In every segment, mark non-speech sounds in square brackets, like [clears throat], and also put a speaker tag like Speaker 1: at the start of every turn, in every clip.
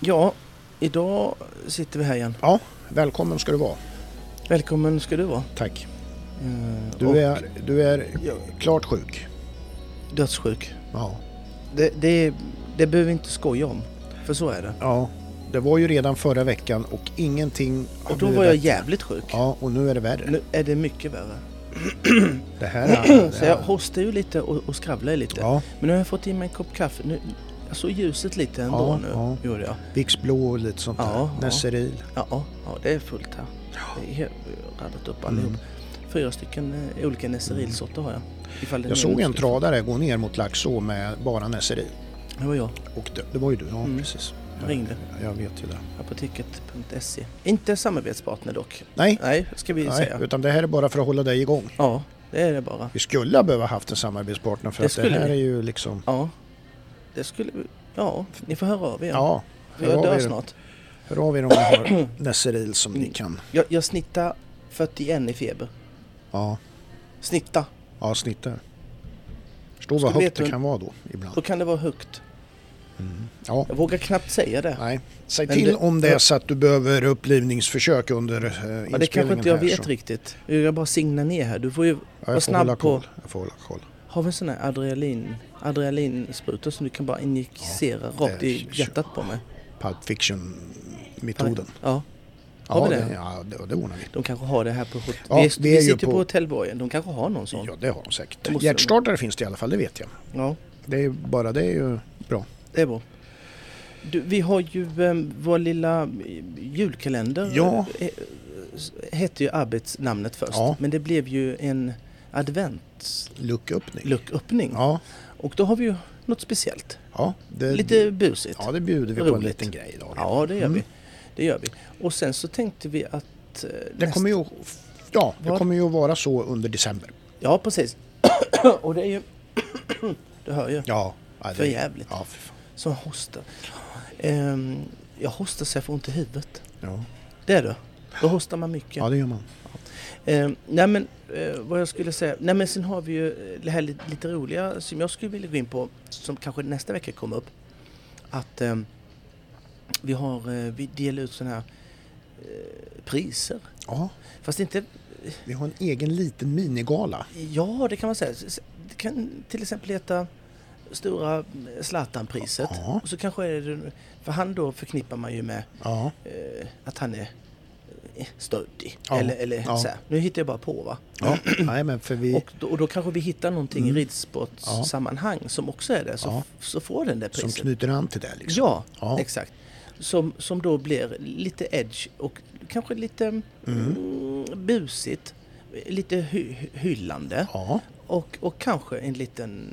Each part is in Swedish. Speaker 1: Ja, idag sitter vi här igen.
Speaker 2: Ja, välkommen ska du vara.
Speaker 1: Välkommen ska du vara.
Speaker 2: Tack.
Speaker 1: Eh, och
Speaker 2: Du är, du är klart sjuk.
Speaker 1: dödssjuk.
Speaker 2: Ja.
Speaker 1: Det, det, det behöver vi inte skoja om. För så är det.
Speaker 2: ja, det var ju redan förra veckan och ingenting har
Speaker 1: Och då
Speaker 2: blivit
Speaker 1: var jag
Speaker 2: bättre.
Speaker 1: jävligt sjuk.
Speaker 2: Ja, och nu är det värre.
Speaker 1: Nu är det mycket värre.
Speaker 2: Det här
Speaker 1: [clears throat]
Speaker 2: är...
Speaker 1: Så jag hostar ju lite och, och skravlar ju lite.
Speaker 2: Ja,
Speaker 1: Men nu har jag fått in mig en kopp kaffe. Nu, jag såg ljuset lite ändå
Speaker 2: Ja,
Speaker 1: nu.
Speaker 2: ja.
Speaker 1: Gjorde jag.
Speaker 2: Vicks Blå och lite sånt
Speaker 1: Ja, ja.
Speaker 2: där. Neseril.
Speaker 1: Ja, ja, ja, det är fullt här. Det är helt radat upp allihop.
Speaker 2: Mm.
Speaker 1: Fyra stycken eh, olika Nesserilsorter har jag. Ifall det är
Speaker 2: Jag såg en
Speaker 1: någon-
Speaker 2: tradare gå ner mot Laxå med bara Neseril.
Speaker 1: Det var jag.
Speaker 2: Och det, det var ju du, ja
Speaker 1: Mm.
Speaker 2: precis.
Speaker 1: Jag ringde.
Speaker 2: Jag vet ju det.
Speaker 1: Apoteket.se. E. Inte samarbetspartner dock.
Speaker 2: Nej,
Speaker 1: Nej, ska vi
Speaker 2: nej,
Speaker 1: säga.
Speaker 2: utan det här är bara för att hålla dig igång.
Speaker 1: Ja, det är det bara.
Speaker 2: Vi skulle ha behövt haft en samarbetspartner för
Speaker 1: Det
Speaker 2: att det
Speaker 1: skulle
Speaker 2: här
Speaker 1: vi.
Speaker 2: är ju liksom...
Speaker 1: Ja, det skulle vi... Ja, ni får höra av er.
Speaker 2: Ja,
Speaker 1: För jag
Speaker 2: hör av
Speaker 1: dör
Speaker 2: er.
Speaker 1: snart.
Speaker 2: Hör av er om ni
Speaker 1: [coughs]
Speaker 2: har Neseril som ni kan.
Speaker 1: Jag, jag snittar 41 i feber.
Speaker 2: Ja,
Speaker 1: Snitta.
Speaker 2: ja snittar. Förstår
Speaker 1: Skulle
Speaker 2: vad högt
Speaker 1: veta-
Speaker 2: det kan vara då
Speaker 1: Då
Speaker 2: ibland. Mm.
Speaker 1: kan det vara högt.
Speaker 2: Ja,
Speaker 1: Jag vågar knappt säga det.
Speaker 2: nej. Säg
Speaker 1: Men
Speaker 2: till
Speaker 1: det-
Speaker 2: om det är så att du behöver upplivningsförsök under eh, inspelningen
Speaker 1: Ja, det kanske inte jag
Speaker 2: här,
Speaker 1: vet
Speaker 2: så.
Speaker 1: riktigt. Jag bara signar ner här. Du får ju...
Speaker 2: Ja,
Speaker 1: Var
Speaker 2: jag, får
Speaker 1: snabb
Speaker 2: hålla koll.
Speaker 1: på-
Speaker 2: jag får hålla koll.
Speaker 1: Har vi en sån här adrenalin, adrenalinspruta som du kan bara injicera
Speaker 2: Ja,
Speaker 1: rakt i
Speaker 2: det är-
Speaker 1: hjärtat på mig?
Speaker 2: Pulp Fiction-metoden.
Speaker 1: Ja. Har
Speaker 2: Ja,
Speaker 1: vi
Speaker 2: det,
Speaker 1: det?
Speaker 2: ja det, det ordnar vi.
Speaker 1: De kanske har det här på hotell.
Speaker 2: Ja,
Speaker 1: vi,
Speaker 2: vi
Speaker 1: vi
Speaker 2: är ju
Speaker 1: sitter på,
Speaker 2: på-
Speaker 1: hotellborgen. De kanske har någon sån.
Speaker 2: Ja, det har de säkert.
Speaker 1: Det måste
Speaker 2: Hjärtstartare finns det i alla fall, det vet jag.
Speaker 1: Ja,
Speaker 2: Det är bara det är ju bra.
Speaker 1: det är bra. Du, vi har ju eh, vår lilla eh, julkalender.
Speaker 2: Ja.
Speaker 1: eh, s- Hette ju arbetsnamnet först.
Speaker 2: Ja.
Speaker 1: Men det blev ju en adventslucköppning.
Speaker 2: Lucköppning. Ja,
Speaker 1: Och då har vi ju något speciellt.
Speaker 2: ja, det,
Speaker 1: Lite busigt.
Speaker 2: ja, det bjuder vi på en
Speaker 1: roligt.
Speaker 2: liten grej idag.
Speaker 1: Ja, det gör
Speaker 2: Mm.
Speaker 1: vi. Det gör vi. Och sen så tänkte vi att... eh,
Speaker 2: Det
Speaker 1: nästa-
Speaker 2: kommer ju, ja, det
Speaker 1: Vad?
Speaker 2: kommer ju att vara så under december.
Speaker 1: Ja, precis. [coughs] Och det är ju... [coughs] du hör ju.
Speaker 2: Ja. ja, det-
Speaker 1: För jävligt.
Speaker 2: Ja, för fan.
Speaker 1: Som hostar. Ehm, jag hostar så jag får ont i huvudet.
Speaker 2: Ja.
Speaker 1: Det är det. Då hostar man mycket.
Speaker 2: ja, det gör man.
Speaker 1: Eh, nej men eh, vad jag skulle säga. Nej men sen har vi ju eh, det här li- lite roliga som jag skulle vilja gå in på. Som kanske nästa vecka kommer upp. Att eh, vi har, eh, vi delar ut sådana här eh, priser.
Speaker 2: Ja,
Speaker 1: Fast inte,
Speaker 2: vi har en egen liten minigala.
Speaker 1: ja det kan man säga. S- s- Det kan till exempel heta Stora eh, Zlatan-priset.
Speaker 2: Ja.
Speaker 1: Och så kanske är det, för han då förknippar man ju med
Speaker 2: Ja,
Speaker 1: eh, att han är eh, stöddig.
Speaker 2: Ja.
Speaker 1: Eller, eller
Speaker 2: Ja.
Speaker 1: så här. Nu hittar jag bara på va. [clears throat]
Speaker 2: ja. nej men för vi
Speaker 1: Och då, och då kanske vi hittar någonting i ridsportsammanhang som också är det. Så,
Speaker 2: Mm. Ja.
Speaker 1: så får den det
Speaker 2: som
Speaker 1: priset.
Speaker 2: knyter an till det liksom.
Speaker 1: ja,
Speaker 2: Ja.
Speaker 1: exakt. Som, som då blir lite edge och kanske lite mm, busigt. Lite hy, hyllande.
Speaker 2: Ja,
Speaker 1: Och, och kanske en liten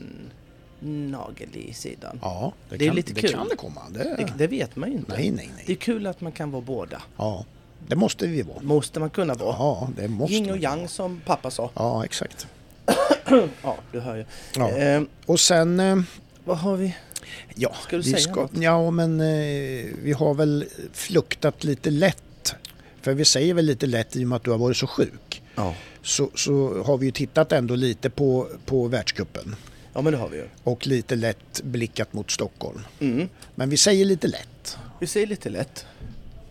Speaker 1: nagel i sidan.
Speaker 2: ja. Det,
Speaker 1: Det är
Speaker 2: kan,
Speaker 1: lite
Speaker 2: det
Speaker 1: kul.
Speaker 2: kan det komma. Det,
Speaker 1: Det, det vet man ju inte.
Speaker 2: nej, nej,
Speaker 1: Det är
Speaker 2: nej.
Speaker 1: kul att man kan vara båda.
Speaker 2: Ja, det måste vi vara.
Speaker 1: Måste man kunna vara.
Speaker 2: Ja, det måste
Speaker 1: Yin och
Speaker 2: vi.
Speaker 1: yang som pappa sa.
Speaker 2: Ja, exakt.
Speaker 1: Ja, du hör ju.
Speaker 2: Ja.
Speaker 1: Eh,
Speaker 2: Och sen, eh,
Speaker 1: vad har vi?
Speaker 2: ja.
Speaker 1: Ska du
Speaker 2: vi
Speaker 1: säga något?
Speaker 2: Ja, men eh, vi har väl fluktat lite lätt. För vi säger väl lite lätt i och med att du har varit så sjuk.
Speaker 1: Ja.
Speaker 2: så, så har vi ju tittat ändå lite på, på världscupen
Speaker 1: Ja men det har vi ju.
Speaker 2: och lite lätt blickat mot Stockholm.
Speaker 1: Mm.
Speaker 2: Men vi säger lite lätt.
Speaker 1: Vi säger lite lätt,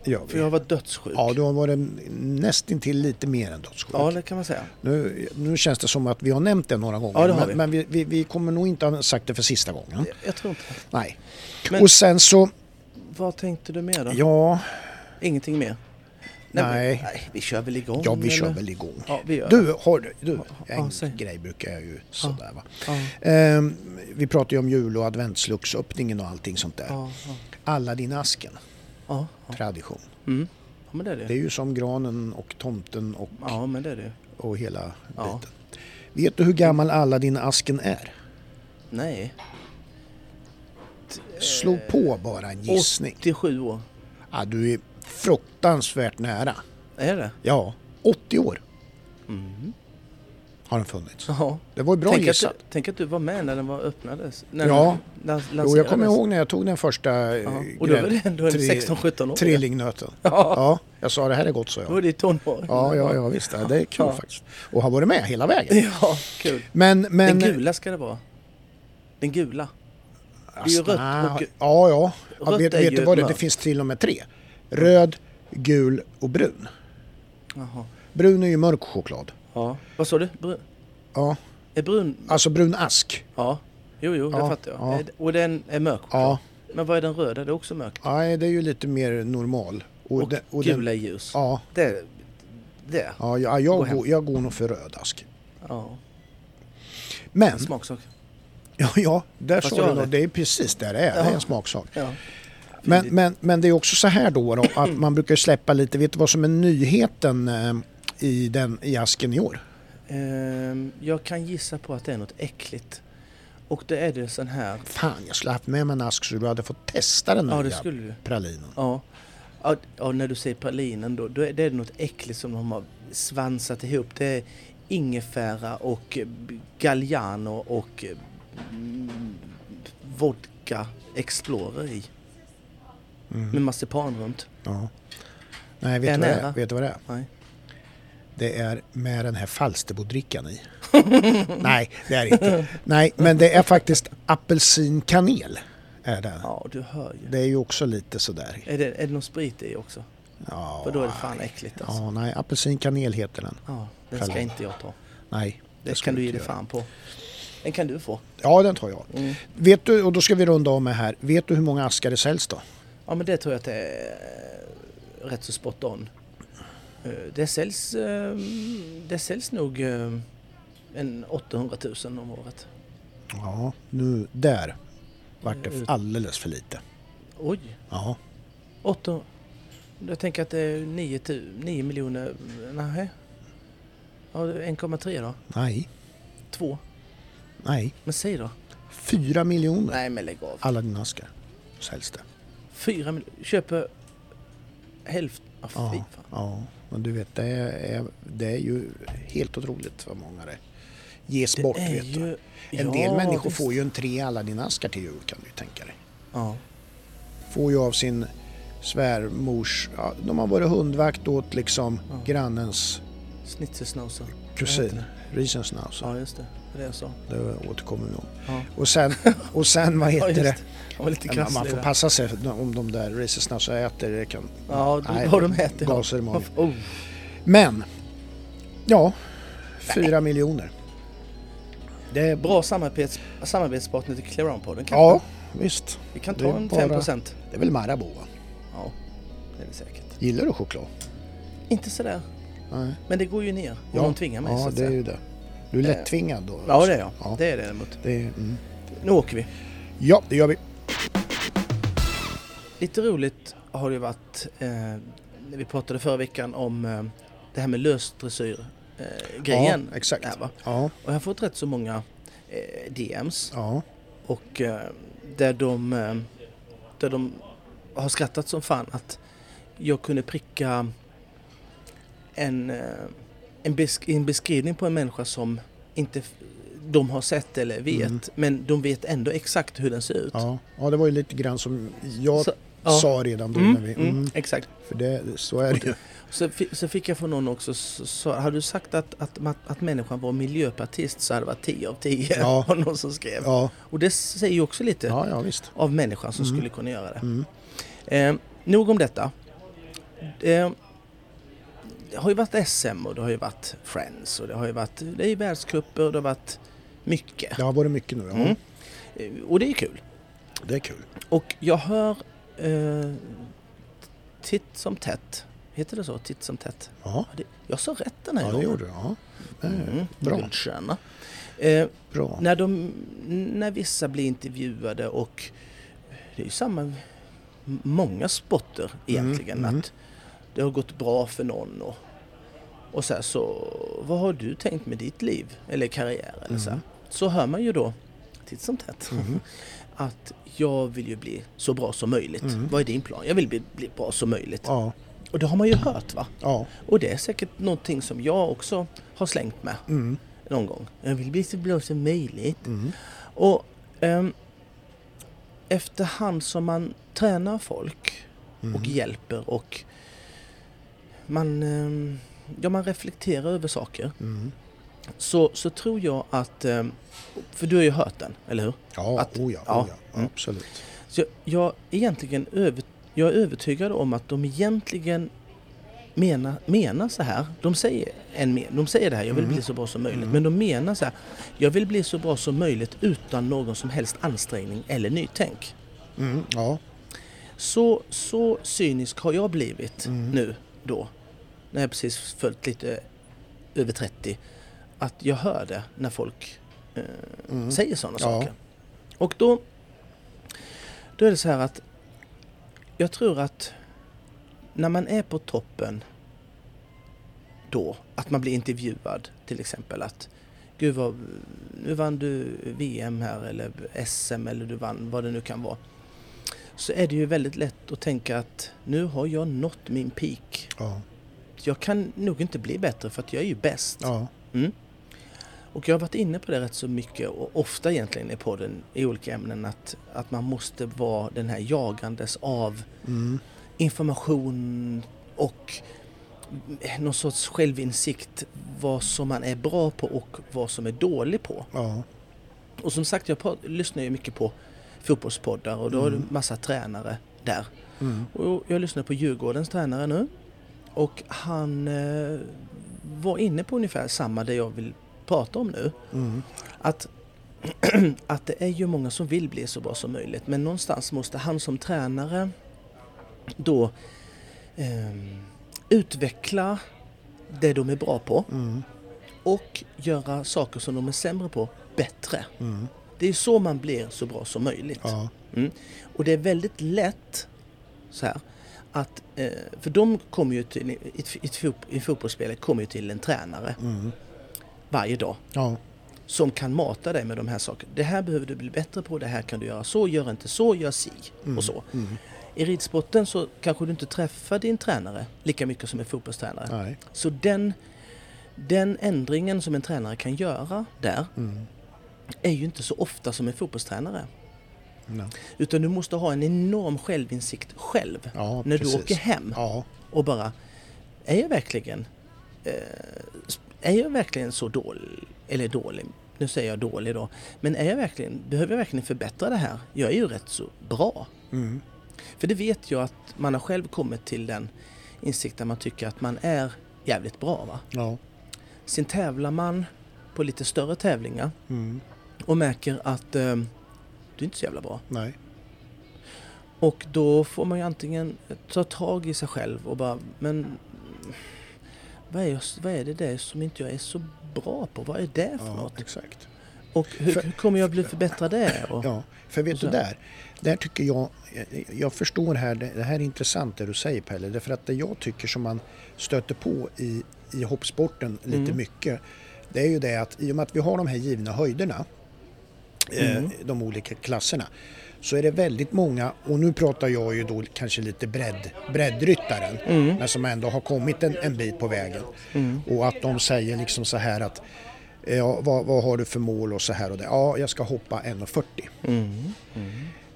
Speaker 2: Gör
Speaker 1: för jag har
Speaker 2: vi.
Speaker 1: varit dödssjuk.
Speaker 2: Ja, du har varit nästintill lite mer än dödssjuk.
Speaker 1: Ja, det kan man säga.
Speaker 2: Nu, nu känns det som att vi har nämnt det några gånger
Speaker 1: Ja, det har
Speaker 2: men,
Speaker 1: vi.
Speaker 2: men vi, vi, vi kommer nog inte ha sagt det för sista gången.
Speaker 1: Jag- Jag tror inte
Speaker 2: Nej.
Speaker 1: Men-
Speaker 2: och sen så,
Speaker 1: Vad tänkte du mer då?
Speaker 2: ja,
Speaker 1: Ingenting mer?
Speaker 2: Nej.
Speaker 1: men- nej. Vi kör väl igång?
Speaker 2: ja vi kör
Speaker 1: eller?
Speaker 2: väl igång.
Speaker 1: Ja, vi gör det.
Speaker 2: Du, har du, du en
Speaker 1: ja, säg.
Speaker 2: grej brukar jag ju sådär va.
Speaker 1: Ja,
Speaker 2: Ehm, vi pratar ju om jul och adventsluxöppningen och allting sånt där.
Speaker 1: ja, ja,
Speaker 2: Aladdinasken,
Speaker 1: ja, ja.
Speaker 2: tradition.
Speaker 1: Mm. ja men det är det.
Speaker 2: Det är ju som granen och tomten och,
Speaker 1: Ja, men det är det.
Speaker 2: och hela
Speaker 1: Ja.
Speaker 2: biten. Vet du hur gammal Aladdin-asken är?
Speaker 1: Nej.
Speaker 2: Slå
Speaker 1: Eh,
Speaker 2: på bara en gissning.
Speaker 1: 87 år.
Speaker 2: Ja, du är fruktansvärt nära.
Speaker 1: Är det?
Speaker 2: Ja, 80 år har den funnits.
Speaker 1: Ja.
Speaker 2: Det var ju bra
Speaker 1: Mm. tänk, att
Speaker 2: gissat.
Speaker 1: du, tänk att du var med när den var öppnades. När
Speaker 2: Ja.
Speaker 1: den lans-
Speaker 2: Jo, jag
Speaker 1: lanserades.
Speaker 2: kommer ihåg när jag tog den första eh,
Speaker 1: Ja. Och då var det ändå en
Speaker 2: tri-
Speaker 1: 16-17 år.
Speaker 2: Trillingnöten.
Speaker 1: Ja.
Speaker 2: Ja, jag sa det här är gott så
Speaker 1: Då var
Speaker 2: jag.
Speaker 1: det i tonåren.
Speaker 2: Ja, ja, ja visst. Ja, det är kul
Speaker 1: Ja.
Speaker 2: faktiskt. Och har varit med hela vägen.
Speaker 1: ja, kul.
Speaker 2: Men, men...
Speaker 1: Den gula ska det vara. Den gula. Det är ju
Speaker 2: Asken,
Speaker 1: rött och-
Speaker 2: Alltså, Ja, ja. Ja,
Speaker 1: Rött
Speaker 2: vet,
Speaker 1: är
Speaker 2: vet
Speaker 1: ju
Speaker 2: du vad det, det
Speaker 1: mörkt.
Speaker 2: finns till och med tre. Röd, gul och brun.
Speaker 1: Jaha.
Speaker 2: Brun är ju mörk choklad.
Speaker 1: Ja. Vad sa du? Brun?
Speaker 2: Ja,
Speaker 1: Är brun?
Speaker 2: alltså brun ask.
Speaker 1: Ja. Jo, jo, det
Speaker 2: Ja,
Speaker 1: fattar jag.
Speaker 2: ja.
Speaker 1: Är- Och den är mörk?
Speaker 2: Ja,
Speaker 1: Men vad är den röda? Det är också mörkt.
Speaker 2: nej, det är ju lite mer normal.
Speaker 1: Och,
Speaker 2: den- den,
Speaker 1: gul är ljus.
Speaker 2: ja,
Speaker 1: Det, det.
Speaker 2: ja, jag,
Speaker 1: Gå
Speaker 2: jag,
Speaker 1: hem.
Speaker 2: går, jag går nog för röd ask.
Speaker 1: Ja.
Speaker 2: Men,
Speaker 1: Smaksak.
Speaker 2: Mm. ja, ja där
Speaker 1: Fast
Speaker 2: sa
Speaker 1: jag
Speaker 2: du
Speaker 1: har
Speaker 2: något.
Speaker 1: rätt.
Speaker 2: Det är precis där det är. Det är
Speaker 1: Ja.
Speaker 2: en smaksak.
Speaker 1: Ja.
Speaker 2: Men, men, men det är också så här då, då att
Speaker 1: Mm.
Speaker 2: man brukar släppa lite, vet du vad som är nyheten eh, i, den, i asken i år?
Speaker 1: Ehm, jag kan gissa på att det är något äckligt. Och det är det sån här...
Speaker 2: Fan, jag skulle haft med mig en ask så du hade fått testa den
Speaker 1: Ja,
Speaker 2: nya
Speaker 1: det skulle du.
Speaker 2: pralinen.
Speaker 1: Ja. Ja, ja, när du säger pralinen då, då är det något äckligt som de har svansat ihop. Det är ingefära och eh, Galliano och eh, mm, vodka Explorer i.
Speaker 2: Mm.
Speaker 1: Med marsipan runt.
Speaker 2: Ja. Nej,
Speaker 1: Är
Speaker 2: vet du, vad det
Speaker 1: nära.
Speaker 2: är? vet du vad det är?
Speaker 1: Nej.
Speaker 2: Det är med den här Falsterbodrickan
Speaker 1: [laughs]
Speaker 2: i. Nej, det är det inte. Nej, men det är faktiskt apelsinkanel. Är det.
Speaker 1: Ja, du hör ju.
Speaker 2: det är ju också lite sådär.
Speaker 1: Är det, är det någon sprit i också?
Speaker 2: Ja,
Speaker 1: För då är det fan äckligt alltså.
Speaker 2: ja, nej, apelsinkanel heter den.
Speaker 1: Ja, den ska
Speaker 2: Själv.
Speaker 1: inte jag ta.
Speaker 2: Nej,
Speaker 1: Det
Speaker 2: ska
Speaker 1: kan
Speaker 2: du
Speaker 1: du ge
Speaker 2: inte
Speaker 1: dig
Speaker 2: göra.
Speaker 1: fan på. Den kan du få.
Speaker 2: ja den tar jag.
Speaker 1: Mm.
Speaker 2: Vet du, och då ska vi runda av med här. Vet du hur många askar det säljs då?
Speaker 1: Ja men det tror jag att det är eh, rätt så spot on. Eh, Det säljs, eh, det säljs nog eh, en 800 000 om året.
Speaker 2: Ja, nu där vart
Speaker 1: Mm.
Speaker 2: det alldeles för lite.
Speaker 1: Oj!
Speaker 2: Ja,
Speaker 1: 800. Jag tänker att det är 9, tu- 9 miljoner, nej. Ja, det är 1,3 då?
Speaker 2: nej,
Speaker 1: 2?
Speaker 2: nej.
Speaker 1: Men säg då?
Speaker 2: Fyra miljoner
Speaker 1: Nej men lägg av.
Speaker 2: alla dina askar säljs det.
Speaker 1: 4 miljoner, köper hälften? Ah, fy
Speaker 2: Ja,
Speaker 1: fan.
Speaker 2: ja, men du vet det är, det är ju helt otroligt vad många det ges bort.
Speaker 1: Det är
Speaker 2: Vet du.
Speaker 1: ju...
Speaker 2: En
Speaker 1: ja,
Speaker 2: del människor
Speaker 1: visst.
Speaker 2: får ju en tre alla dina askar till jul kan du ju tänka dig.
Speaker 1: Ja.
Speaker 2: Får ju av sin svärmors, ja, de har varit hundvakt åt liksom grannens
Speaker 1: Schnitzelsnauser.
Speaker 2: kusin, Riesenschnauzer.
Speaker 1: Ja just det, det är det jag sa.
Speaker 2: Det återkommer vi om.
Speaker 1: Ja. [laughs]
Speaker 2: Och sen, och sen vad
Speaker 1: Ja,
Speaker 2: heter
Speaker 1: just
Speaker 2: det?
Speaker 1: Han var lite
Speaker 2: Man, man
Speaker 1: krasslig.
Speaker 2: får
Speaker 1: där.
Speaker 2: passa sig för- om de där racersna så äter det kan...
Speaker 1: Ja, då-
Speaker 2: Nej,
Speaker 1: vad de äter. ja.
Speaker 2: gaser i magen.
Speaker 1: Oh,
Speaker 2: Men, ja, fyra miljoner. Det är bra.
Speaker 1: bra samarbets, samarbetspartner till Clearon-podden kanske?
Speaker 2: Ja, visst.
Speaker 1: Vi kan
Speaker 2: det
Speaker 1: ta
Speaker 2: är
Speaker 1: en
Speaker 2: bara-
Speaker 1: 5 procent.
Speaker 2: Det är väl Marabou va?
Speaker 1: Ja, det är det säkert.
Speaker 2: Gillar du choklad?
Speaker 1: Inte sådär,
Speaker 2: Nej.
Speaker 1: men det går ju ner om någon tvingar mig så
Speaker 2: Ja,
Speaker 1: att
Speaker 2: det är
Speaker 1: säga. Eh,
Speaker 2: ju det. Du är lättvingad då?
Speaker 1: Ja, det är jag.
Speaker 2: Ja,
Speaker 1: Det är det däremot.
Speaker 2: det är, mm.
Speaker 1: Nu åker vi.
Speaker 2: ja, det gör vi.
Speaker 1: Lite roligt har det ju varit eh, när vi pratade förra veckan om eh, det här med löst dressyr eh, grejen.
Speaker 2: Ja, exakt.
Speaker 1: Där, va?
Speaker 2: Ja,
Speaker 1: Och jag har fått rätt så många eh, DMs
Speaker 2: ja,
Speaker 1: Och eh, där de, eh, där de har skrattat som fan att jag kunde pricka en, eh, en, besk- en beskrivning på en människa som inte f- de har sett eller vet.
Speaker 2: Mm.
Speaker 1: Men de vet ändå exakt hur den ser ut.
Speaker 2: ja. Ja, det var ju lite grann som jag
Speaker 1: Så- ja.
Speaker 2: sa redan då.
Speaker 1: Mm,
Speaker 2: När vi,
Speaker 1: mm,
Speaker 2: mm,
Speaker 1: exakt.
Speaker 2: för det, så är
Speaker 1: [laughs]
Speaker 2: det ju.
Speaker 1: Så, fi- så fick jag från någon också, så, så, hade du sagt att, att, att, att människan var miljöpartist så hade det varit 10 av 10. [laughs]
Speaker 2: Ja.
Speaker 1: Var det någon som skrev.
Speaker 2: Ja,
Speaker 1: Och det säger ju också lite
Speaker 2: ja, ja visst.
Speaker 1: av människan som
Speaker 2: Mm.
Speaker 1: skulle kunna göra det.
Speaker 2: Mm.
Speaker 1: Eh, nog om detta. Eh, det har ju varit SM och det har ju varit Friends och det har ju varit det är ju världscuper och det har varit mycket.
Speaker 2: Det har varit mycket nu, ja.
Speaker 1: Mm. Eh, Och det är kul.
Speaker 2: Det är kul.
Speaker 1: Och jag hör eh, titt som tätt. Heter det så? Titt som tätt?
Speaker 2: Ja,
Speaker 1: Ja, det, jag sa rätt den här
Speaker 2: ja det
Speaker 1: gången.
Speaker 2: gjorde du. Ja. Det är
Speaker 1: Mm,
Speaker 2: Bra.
Speaker 1: guldstjärna. Eh,
Speaker 2: Bra.
Speaker 1: när, de, när vissa blir intervjuade och det är ju samma många spotter egentligen
Speaker 2: mm.
Speaker 1: att det har gått bra för någon och, och så här så vad har du tänkt med ditt liv eller karriär eller så här.
Speaker 2: Mm.
Speaker 1: Så hör man ju då titt som tätt [laughs] att jag vill ju bli så bra som möjligt. Vad är din plan? Jag vill bli, bli bra som möjligt.
Speaker 2: Mm. Ja,
Speaker 1: Och det har man ju hört va?
Speaker 2: ja,
Speaker 1: Och det är säkert någonting som jag också har slängt med
Speaker 2: mm.
Speaker 1: någon gång. Jag vill bli så bra som möjligt.
Speaker 2: Mm.
Speaker 1: Och ehm, efterhand som man tränar folk
Speaker 2: mm.
Speaker 1: och hjälper och man, ehm, ja, man reflekterar över saker
Speaker 2: Mm.
Speaker 1: så, så tror jag att, eh, för du har ju hört den, eller hur?
Speaker 2: Ja,
Speaker 1: Att-
Speaker 2: oh ja,
Speaker 1: ja.
Speaker 2: oh ja.
Speaker 1: Mm.
Speaker 2: Absolut.
Speaker 1: Så jag, jag, är egentligen över, jag är övertygad om att de egentligen menar, menar så här. De säger, en, me- de säger det här, jag vill bli så bra som möjligt. Men de menar så här, jag vill bli så bra som möjligt utan någon som helst ansträngning eller nytänk.
Speaker 2: Mm, ja.
Speaker 1: Så, så cynisk har jag blivit nu då, när jag precis följt lite över 30, att jag hör det när folk eh,
Speaker 2: mm.
Speaker 1: säger sådana
Speaker 2: Ja.
Speaker 1: saker. Och då, då är det så här att jag tror att när man är på toppen då, att man blir intervjuad till exempel att Gud vad, nu vann du VM här eller SM eller du vann vad det nu kan vara. Så är det ju väldigt lätt att tänka att nu har jag nått min peak.
Speaker 2: Ja.
Speaker 1: Jag kan nog inte bli bättre för att jag är ju bäst.
Speaker 2: ja.
Speaker 1: Mm. Och jag har varit inne på det rätt så mycket och ofta egentligen i podden i olika ämnen att, att man måste vara den här jagandes av
Speaker 2: Mm.
Speaker 1: information och någon sorts självinsikt vad som man är bra på och vad som är dålig på.
Speaker 2: Ja.
Speaker 1: Och som sagt, jag pra- lyssnar ju mycket på fotbollspoddar och då har du
Speaker 2: Mm.
Speaker 1: massa tränare där.
Speaker 2: Mm.
Speaker 1: Och jag lyssnar på Djurgårdens tränare nu. Och han eh, var inne på ungefär samma det jag vill prata om nu.
Speaker 2: Mm.
Speaker 1: Att, [clears throat] att det är ju många som vill bli så bra som möjligt men någonstans måste han som tränare då ehm, utveckla det de är bra på
Speaker 2: Mm.
Speaker 1: och göra saker som de är sämre på bättre.
Speaker 2: Mm.
Speaker 1: Det är så man blir så bra som möjligt.
Speaker 2: Ja.
Speaker 1: Mm. Och det är väldigt lätt så här att, eh, för de kommer ju till, i, ett- i, ett fot- i fotbollsspelare kommer ju till en tränare
Speaker 2: Mm.
Speaker 1: varje dag
Speaker 2: Ja.
Speaker 1: som kan mata dig med de här sakerna. Det här behöver du bli bättre på, det här kan du göra så, gör inte så, gör si och så.
Speaker 2: Mm.
Speaker 1: I ridsporten så kanske du inte träffar din tränare lika mycket som en fotbollstränare.
Speaker 2: Nej.
Speaker 1: Så den, den ändringen som en tränare kan göra där
Speaker 2: Mm.
Speaker 1: är ju inte så ofta som en fotbollstränare.
Speaker 2: Nej.
Speaker 1: Utan du måste ha en enorm självinsikt själv
Speaker 2: Ja,
Speaker 1: när
Speaker 2: precis.
Speaker 1: du åker hem
Speaker 2: Ja.
Speaker 1: och bara är jag verkligen eh, är jag verkligen så dålig eller dålig nu säger jag dålig då men är jag verkligen behöver jag verkligen förbättra det här jag är ju rätt så bra
Speaker 2: Mm.
Speaker 1: för det vet jag att man har själv kommit till den insikt där man tycker att man är jävligt bra va
Speaker 2: Ja.
Speaker 1: sen tävlar man på lite större tävlingar
Speaker 2: Mm.
Speaker 1: och märker att eh, du är inte så jävla bra
Speaker 2: Nej.
Speaker 1: Och då får man ju antingen ta tag i sig själv och bara, men vad är, jag, vad är det där som inte jag är så bra på? Vad är det för
Speaker 2: Ja,
Speaker 1: något?
Speaker 2: exakt.
Speaker 1: Och hur,
Speaker 2: För-
Speaker 1: hur kommer jag bli förbättrad där? Och,
Speaker 2: Ja, för
Speaker 1: Och
Speaker 2: vet
Speaker 1: så-
Speaker 2: du där, där tycker jag, eh, jag förstår här, det det här är intressant det du säger Pelle, därför att det jag tycker som man stöter på i, i hoppsporten lite
Speaker 1: Mm.
Speaker 2: mycket, det är ju det att i och med att vi har de här givna höjderna,
Speaker 1: Mm.
Speaker 2: eh, de olika klasserna, så är det väldigt många, och nu pratar jag ju då kanske lite bredd, breddryttaren,
Speaker 1: Mm.
Speaker 2: men som ändå har kommit en, en bit på vägen. Och att de säger liksom så här att, ja, vad, vad har du för mål och så här och det. Ja, jag ska hoppa 1,40.
Speaker 1: Mm.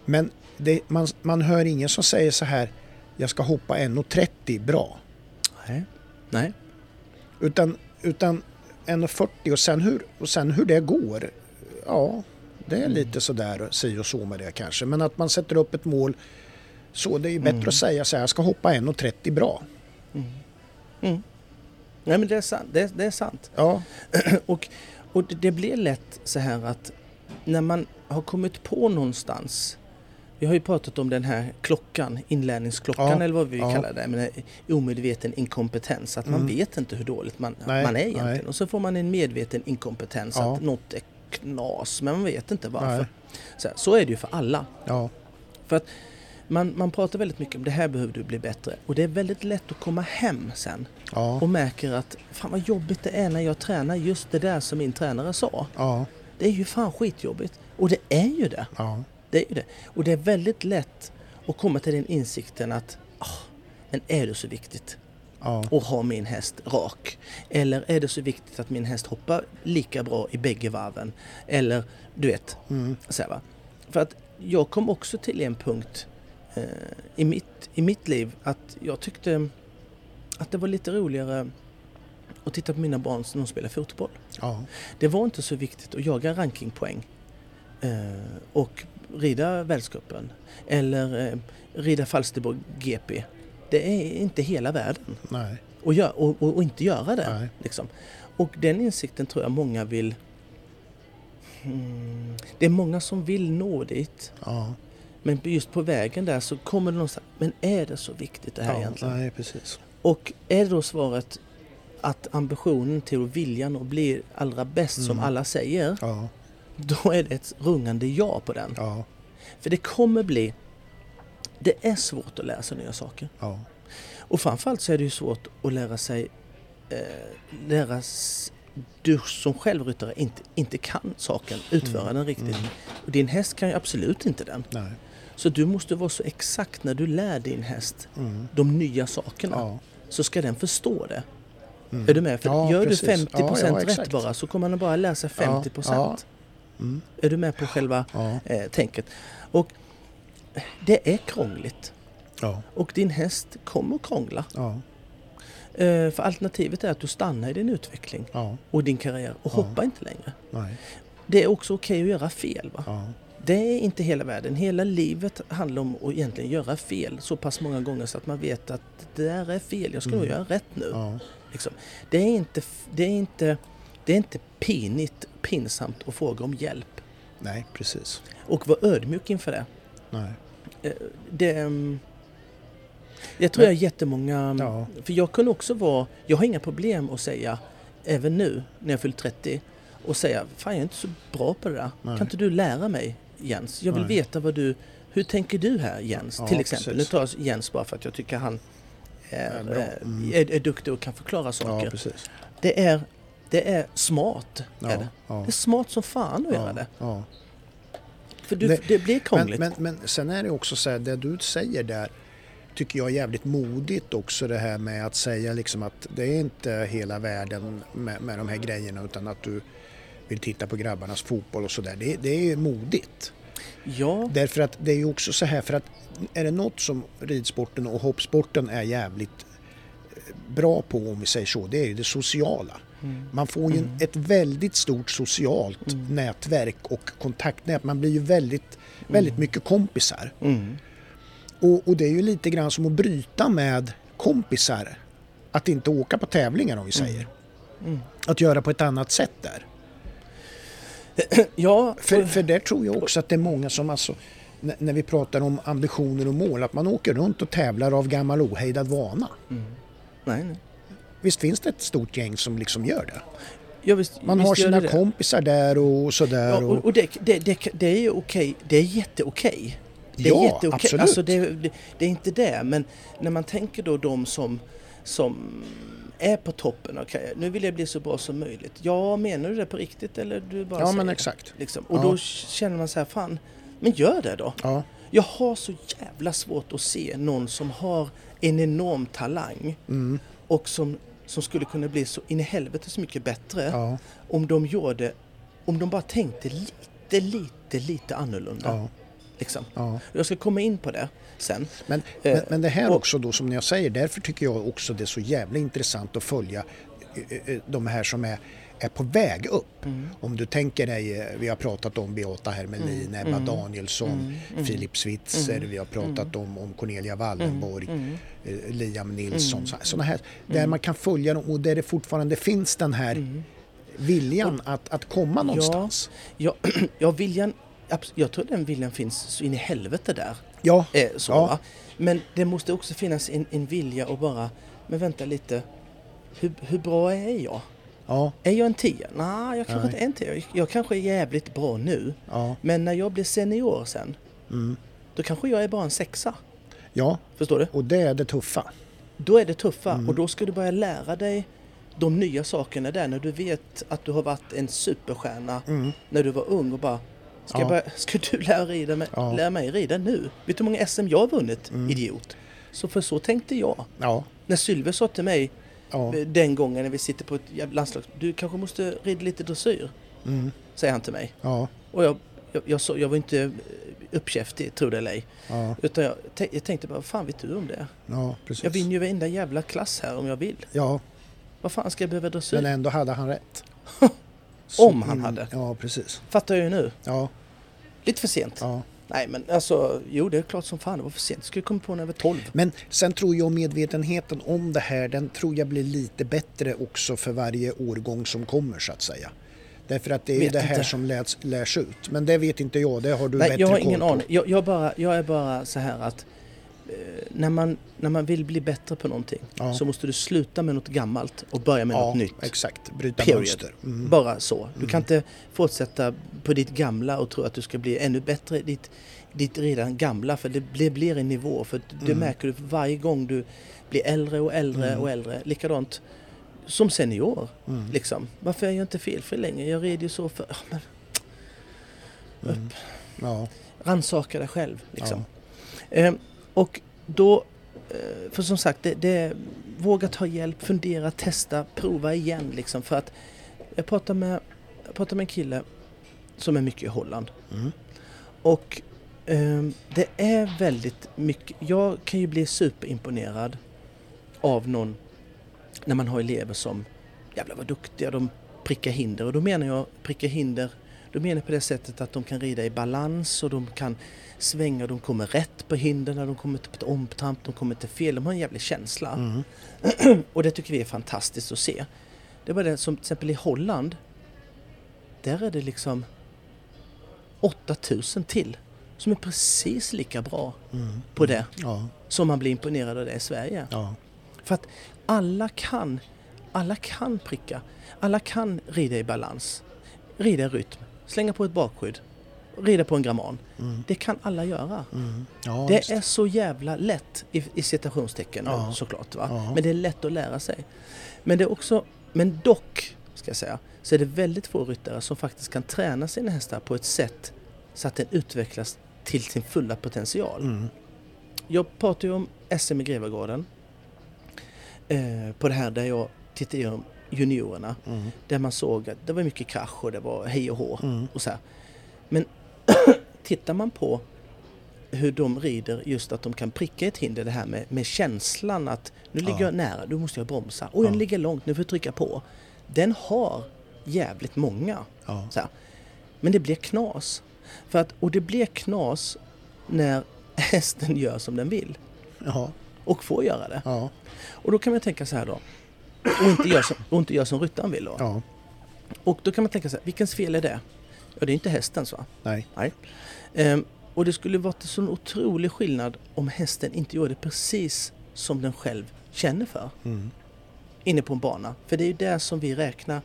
Speaker 2: Men det, man, man hör ingen som säger så här, jag ska hoppa 1,30 bra.
Speaker 1: Nej. Nej.
Speaker 2: Utan, utan 1,40 och sen, hur, och sen hur det går, ja, det
Speaker 1: Mm.
Speaker 2: är lite sådär si och så med det kanske. Men att man sätter upp ett mål, så det är ju bättre
Speaker 1: Mm.
Speaker 2: att säga så här, jag ska hoppa 1,30 bra.
Speaker 1: Nej men det är sant. Det är, det är sant.
Speaker 2: Ja,
Speaker 1: Och, och det- det blir lätt så här att när man har kommit på någonstans vi har ju pratat om den här klockan, inlärningsklockan
Speaker 2: Ja,
Speaker 1: eller vad vi
Speaker 2: ja. Mm.
Speaker 1: kallar det, men omedveten inkompetens. Att man vet inte hur dåligt man,
Speaker 2: Nej,
Speaker 1: man är egentligen.
Speaker 2: nej.
Speaker 1: Och så får man en medveten inkompetens
Speaker 2: Ja.
Speaker 1: att något är knas, men man vet inte varför.
Speaker 2: Nej.
Speaker 1: Så, här, så är det ju för alla.
Speaker 2: ja,
Speaker 1: För att man, man pratar väldigt mycket om det här behöver du bli bättre. Och det är väldigt lätt att komma hem sen
Speaker 2: ja,
Speaker 1: och märker att fan vad jobbigt det är när jag tränar just det där som min tränare sa.
Speaker 2: ja,
Speaker 1: Det är ju fan skitjobbigt. Och det är ju det.
Speaker 2: ja,
Speaker 1: Det är ju det. Och det är väldigt lätt att komma till den insikten att "Ah, men är det så viktigt
Speaker 2: ja,
Speaker 1: att ha min häst rak? Eller är det så viktigt att min häst hoppar lika bra i bägge varven? Eller du vet,
Speaker 2: mm,
Speaker 1: så här, va? För att jag kom också till en punkt eh, i, mitt, i mitt liv att jag tyckte att det var lite roligare att titta på mina barn när de spelar fotboll.
Speaker 2: Ja.
Speaker 1: Det var inte så viktigt att jaga rankingpoäng eh, och rida världscupen eller eh, rida Falsterbo GP. Det är inte hela världen
Speaker 2: Nej.
Speaker 1: och, gör, och, och, och inte göra det.
Speaker 2: Nej.
Speaker 1: Liksom. Och den insikten tror jag många vill... Mm, det är många som vill nå dit
Speaker 2: Ja.
Speaker 1: men just på vägen där så kommer det någonstans. Men är det så viktigt det här
Speaker 2: ja.
Speaker 1: egentligen?
Speaker 2: Nej, precis.
Speaker 1: Och är då svaret att ambitionen till och viljan att bli allra bäst som
Speaker 2: Mm.
Speaker 1: alla säger,
Speaker 2: Ja.
Speaker 1: då är det ett rungande ja på den.
Speaker 2: Ja.
Speaker 1: För det kommer bli... Det är svårt att lära sig nya saker.
Speaker 2: Ja.
Speaker 1: Och framförallt så är det ju svårt att lära sig... Eh, lära s- du som självryttare inte, inte kan saken,
Speaker 2: Mm.
Speaker 1: utföra den riktigt. Och din häst kan ju absolut inte den.
Speaker 2: Nej.
Speaker 1: Så du måste vara så exakt när du lär din häst
Speaker 2: Mm.
Speaker 1: de nya sakerna.
Speaker 2: Ja.
Speaker 1: Så ska den förstå det.
Speaker 2: Mm.
Speaker 1: Är du med? För
Speaker 2: Ja,
Speaker 1: gör
Speaker 2: precis.
Speaker 1: du 50%
Speaker 2: Ja, ja,
Speaker 1: rätt
Speaker 2: exakt.
Speaker 1: bara så kommer den bara läsa 50%.
Speaker 2: Ja, Mm.
Speaker 1: Är du med på själva
Speaker 2: Ja.
Speaker 1: eh, tänket? Och det är krångligt.
Speaker 2: Ja.
Speaker 1: Och din häst kommer att krångla.
Speaker 2: Ja.
Speaker 1: Eh, för alternativet är att du stannar i din utveckling
Speaker 2: Ja.
Speaker 1: och din karriär och
Speaker 2: Ja.
Speaker 1: hoppar inte längre.
Speaker 2: Nej.
Speaker 1: Det är också okej att göra fel. Va?
Speaker 2: Ja.
Speaker 1: Det är inte hela världen. Hela livet handlar om att egentligen göra fel så pass många gånger så att man vet att det där är fel, jag ska nog göra rätt nu.
Speaker 2: Mm. Ja.
Speaker 1: Liksom. Det, är inte, f- det, är inte, det är inte pinigt, pinsamt att fråga om hjälp.
Speaker 2: Nej, precis.
Speaker 1: Och vara ödmjuk inför det.
Speaker 2: Nej.
Speaker 1: Eh, det mm, jag tror
Speaker 2: Men-
Speaker 1: jag är jättemånga... ehm,
Speaker 2: Ja.
Speaker 1: För jag kunde också vara... Jag har inga problem att säga, även nu när jag fyllt 30, och säga Fan, jag är inte så bra på det där.
Speaker 2: Nej.
Speaker 1: Kan inte du lära mig, Jens? Jag vill
Speaker 2: Nej.
Speaker 1: veta vad du... Hur tänker du här, Jens?
Speaker 2: Ja,
Speaker 1: till exempel.
Speaker 2: precis.
Speaker 1: Nu tar jag Jens bara för att jag tycker han är,
Speaker 2: bra. Mm.
Speaker 1: är, är, är duktig och kan förklara
Speaker 2: Ja,
Speaker 1: saker.
Speaker 2: precis.
Speaker 1: det, är, det är smart.
Speaker 2: Ja.
Speaker 1: Är det.
Speaker 2: Ja.
Speaker 1: det är smart som fan att göra
Speaker 2: Ja.
Speaker 1: det.
Speaker 2: Ja.
Speaker 1: För du,
Speaker 2: Men-
Speaker 1: det blir krångligt.
Speaker 2: Men, men, men sen är det också så här, det du säger där tycker jag är jävligt modigt också det här med att säga liksom att det är inte hela världen med, med de här grejerna utan att du vill titta på grabbarnas fotboll och sådär. Det, det är ju modigt.
Speaker 1: ja.
Speaker 2: Därför att det är ju också så här för att är det något som ridsporten och hoppsporten är jävligt eh, bra på om vi säger så, det är ju det sociala. Man får ju en- ett väldigt stort socialt nätverk och kontaktnät. Man blir ju väldigt, väldigt mycket kompisar.
Speaker 1: Mm.
Speaker 2: Och, och det är ju lite grann som att bryta med kompisar. Att inte åka på tävlingar om vi säger. Att göra på ett annat sätt där.
Speaker 1: Ja,
Speaker 2: För, för där tror jag också att det är många som alltså, när- när vi pratar om ambitioner och mål, att man åker runt och tävlar av gammal ohejdad vana.
Speaker 1: nej, nej.
Speaker 2: Visst finns det ett stort gäng som liksom gör det?
Speaker 1: Ja, visst,
Speaker 2: Man
Speaker 1: visst
Speaker 2: har
Speaker 1: gör
Speaker 2: sina
Speaker 1: det det.
Speaker 2: kompisar där och
Speaker 1: Ja,
Speaker 2: sådär.
Speaker 1: och,
Speaker 2: och,
Speaker 1: och det, det, det, det är ju okej. Det är jätteokej. Det är
Speaker 2: Ja,
Speaker 1: jätteokej.
Speaker 2: absolut.
Speaker 1: Alltså det, det, det är inte det, men när man tänker då de som, som är på toppen av karriären. Nu vill jag bli så bra som möjligt. Ja, menar du det på riktigt eller du bara
Speaker 2: ja
Speaker 1: säger
Speaker 2: men
Speaker 1: det?
Speaker 2: exakt.
Speaker 1: Liksom. Och
Speaker 2: Ja.
Speaker 1: då känner man så här, fan, men gör det då.
Speaker 2: Ja,
Speaker 1: Jag har så jävla svårt att se någon som har en enorm talang
Speaker 2: Mm.
Speaker 1: och som, som skulle kunna bli så in i helvete så mycket bättre
Speaker 2: ja,
Speaker 1: om de gjorde, om de bara tänkte lite, lite, lite annorlunda.
Speaker 2: ja,
Speaker 1: Liksom.
Speaker 2: ja.
Speaker 1: Jag ska komma in på det sen.
Speaker 2: Men,
Speaker 1: Eh,
Speaker 2: men, men det här
Speaker 1: och-
Speaker 2: också då som jag säger, därför tycker jag också det är så jävla intressant att följa eh, eh, de här som är, är på väg upp.
Speaker 1: Mm.
Speaker 2: Om du tänker dig, eh, vi har pratat om Beata Hermelin, Ebba
Speaker 1: Mm.
Speaker 2: Danielsson, Filip Switzer, vi har pratat om, om Cornelia Wallenborg,
Speaker 1: Mm.
Speaker 2: eh, Liam Nilsson, så, såna här. Där man kan följa dem och där det fortfarande finns den här
Speaker 1: Mm.
Speaker 2: viljan att, att komma någonstans.
Speaker 1: Ja, [clears throat] ja, viljan, abs- jag tror den viljan finns så in i helvete där.
Speaker 2: Ja,
Speaker 1: Eh, så,
Speaker 2: Ja.
Speaker 1: va? Men det måste också finnas en, en vilja och bara, men vänta lite, hur, hur bra är jag?
Speaker 2: ja,
Speaker 1: Är jag en tia? Nej, jag kanske inte
Speaker 2: Nej.
Speaker 1: är en tia. Jag- Jag kanske är jävligt bra nu.
Speaker 2: ja,
Speaker 1: Men när jag blir senior sen,
Speaker 2: Mm.
Speaker 1: då kanske jag är bara en sexa.
Speaker 2: ja.
Speaker 1: Förstår du?
Speaker 2: Och det är det tuffa.
Speaker 1: Då är det tuffa
Speaker 2: Mm.
Speaker 1: och då ska du börja lära dig de nya sakerna där när du vet att du har varit en superstjärna när du var ung och bara Ska,
Speaker 2: Mm. Ja.
Speaker 1: jag börja, ska du lära, rida mig,
Speaker 2: Ja. Mm.
Speaker 1: lära mig rida nu? Vet du hur många SM jag har vunnit, idiot? Så för så tänkte jag.
Speaker 2: Ja,
Speaker 1: När Sylve sa till mig
Speaker 2: ja,
Speaker 1: eh, den gången när vi sitter på ett jävla landslag, du kanske måste rida lite dressyr,
Speaker 2: Mm.
Speaker 1: säger han till mig.
Speaker 2: ja,
Speaker 1: Och jag, jag, jag, så, jag var inte eh, uppkäftig, tro det eller ej.
Speaker 2: ja,
Speaker 1: Utan jag, tän- jag tänkte bara, vad fan vet du om det?
Speaker 2: ja precis.
Speaker 1: Jag vinner ju varenda jävla klass här om jag vill.
Speaker 2: Ja,
Speaker 1: Vad fan ska jag behöva dressyr?
Speaker 2: men ändå hade han rätt. Så-
Speaker 1: [laughs] Om han hade.
Speaker 2: Ja, precis.
Speaker 1: Fattar jag ju nu.
Speaker 2: Ja,
Speaker 1: Lite för sent.
Speaker 2: ja.
Speaker 1: Nej men alltså, jo det är klart som fan det var för sent. Skulle komma på när jag var 12.
Speaker 2: Men sen tror jag medvetenheten om det här, den tror jag blir lite bättre också för varje årgång som kommer så att säga. Därför att det är ju
Speaker 1: Vet
Speaker 2: det här
Speaker 1: inte.
Speaker 2: som läs, lärs ut. Men det vet inte jag, det har du
Speaker 1: Nej,
Speaker 2: bättre
Speaker 1: jag har
Speaker 2: koll
Speaker 1: ingen
Speaker 2: på.
Speaker 1: aning. Jag, jag, bara, jag är bara så här att eh, när man, när man vill bli bättre på någonting
Speaker 2: Ja.
Speaker 1: så måste du sluta med något gammalt och börja med
Speaker 2: ja,
Speaker 1: något nytt.
Speaker 2: exakt. Bryta
Speaker 1: Period.
Speaker 2: mönster. Mm.
Speaker 1: Bara så. Du kan inte fortsätta på ditt gamla och tro att du ska bli ännu bättre i ditt, ditt redan gamla. För det blir, blir en nivå. För det
Speaker 2: Mm.
Speaker 1: märker du för varje gång du blir äldre och äldre
Speaker 2: Mm.
Speaker 1: och äldre. Likadant som senior.
Speaker 2: Mm.
Speaker 1: Liksom. Varför är jag inte felfri längre? Jag red ju så för... Ah, men,
Speaker 2: Mm. Ja,
Speaker 1: rannsaka dig själv. Liksom. Eh, och då... eh, För som sagt, det, det, våga ta hjälp, fundera, testa, prova igen. Liksom, för att jag pratade, med, jag pratade med en kille som är mycket i Holland.
Speaker 2: mm.
Speaker 1: Och ehm, det är väldigt mycket. Jag kan ju bli superimponerad av någon när man har elever som jävlar vad duktiga, de prickar hinder. Och då menar jag prickar hinder, då menar jag på det sättet att de kan rida i balans och de kan svänga, de kommer rätt på hindren, de kommer inte på ett omtramp, de kommer inte fel, de har en jävlig känsla.
Speaker 2: Mm.
Speaker 1: Och det tycker vi är fantastiskt att se. Det var det som till exempel i Holland. Där är det liksom 8000 till som är precis lika bra
Speaker 2: Mm.
Speaker 1: på det
Speaker 2: Ja,
Speaker 1: som man blir imponerad av det i Sverige.
Speaker 2: ja,
Speaker 1: För att alla kan, alla kan pricka. Alla kan rida i balans, rida i rytm, slänga på ett bakskydd, rida på en gramman. Det kan alla göra.
Speaker 2: mm. ja
Speaker 1: Det
Speaker 2: just.
Speaker 1: är så jävla lätt i, i citationstecken
Speaker 2: Ja.
Speaker 1: såklart. Va?
Speaker 2: Ja.
Speaker 1: Men det är lätt att lära sig. Men det är också, men dock, ska jag säga, så är det väldigt få ryttare som faktiskt kan träna sina hästar på ett sätt så att den utvecklas till sin fulla potential.
Speaker 2: Mm.
Speaker 1: Jag pratar ju om SM i Grevegarden. Eh, på det här där jag tittade igenom juniorerna.
Speaker 2: Mm.
Speaker 1: Där man såg att det var mycket krasch och det var hej och hå.
Speaker 2: Mm.
Speaker 1: Och så här. Men [clears throat] tittar man på hur de rider, just att de kan pricka ett hinder, det här med, med känslan att nu ligger
Speaker 2: Ja.
Speaker 1: jag nära, då måste jag bromsa. Och
Speaker 2: Ja.
Speaker 1: den ligger långt, nu får jag trycka på. Den har jävligt många.
Speaker 2: Ja,
Speaker 1: Så här. Men det blir knas. För att, och det blir knas när [laughs] hästen gör som den vill
Speaker 2: ja,
Speaker 1: och får göra det.
Speaker 2: ja,
Speaker 1: Och då kan man tänka så här då. Och inte gör som, och inte gör som ryttaren vill då.
Speaker 2: ja,
Speaker 1: Och då kan man tänka så här, vilkens fel är det? Ja, det är inte hästens va?
Speaker 2: nej,
Speaker 1: Nej. Ehm, och det skulle varit en sån otrolig skillnad om hästen inte gjorde precis som den själv känner för.
Speaker 2: Mm.
Speaker 1: Inne på en bana. För det är ju där som vi räknar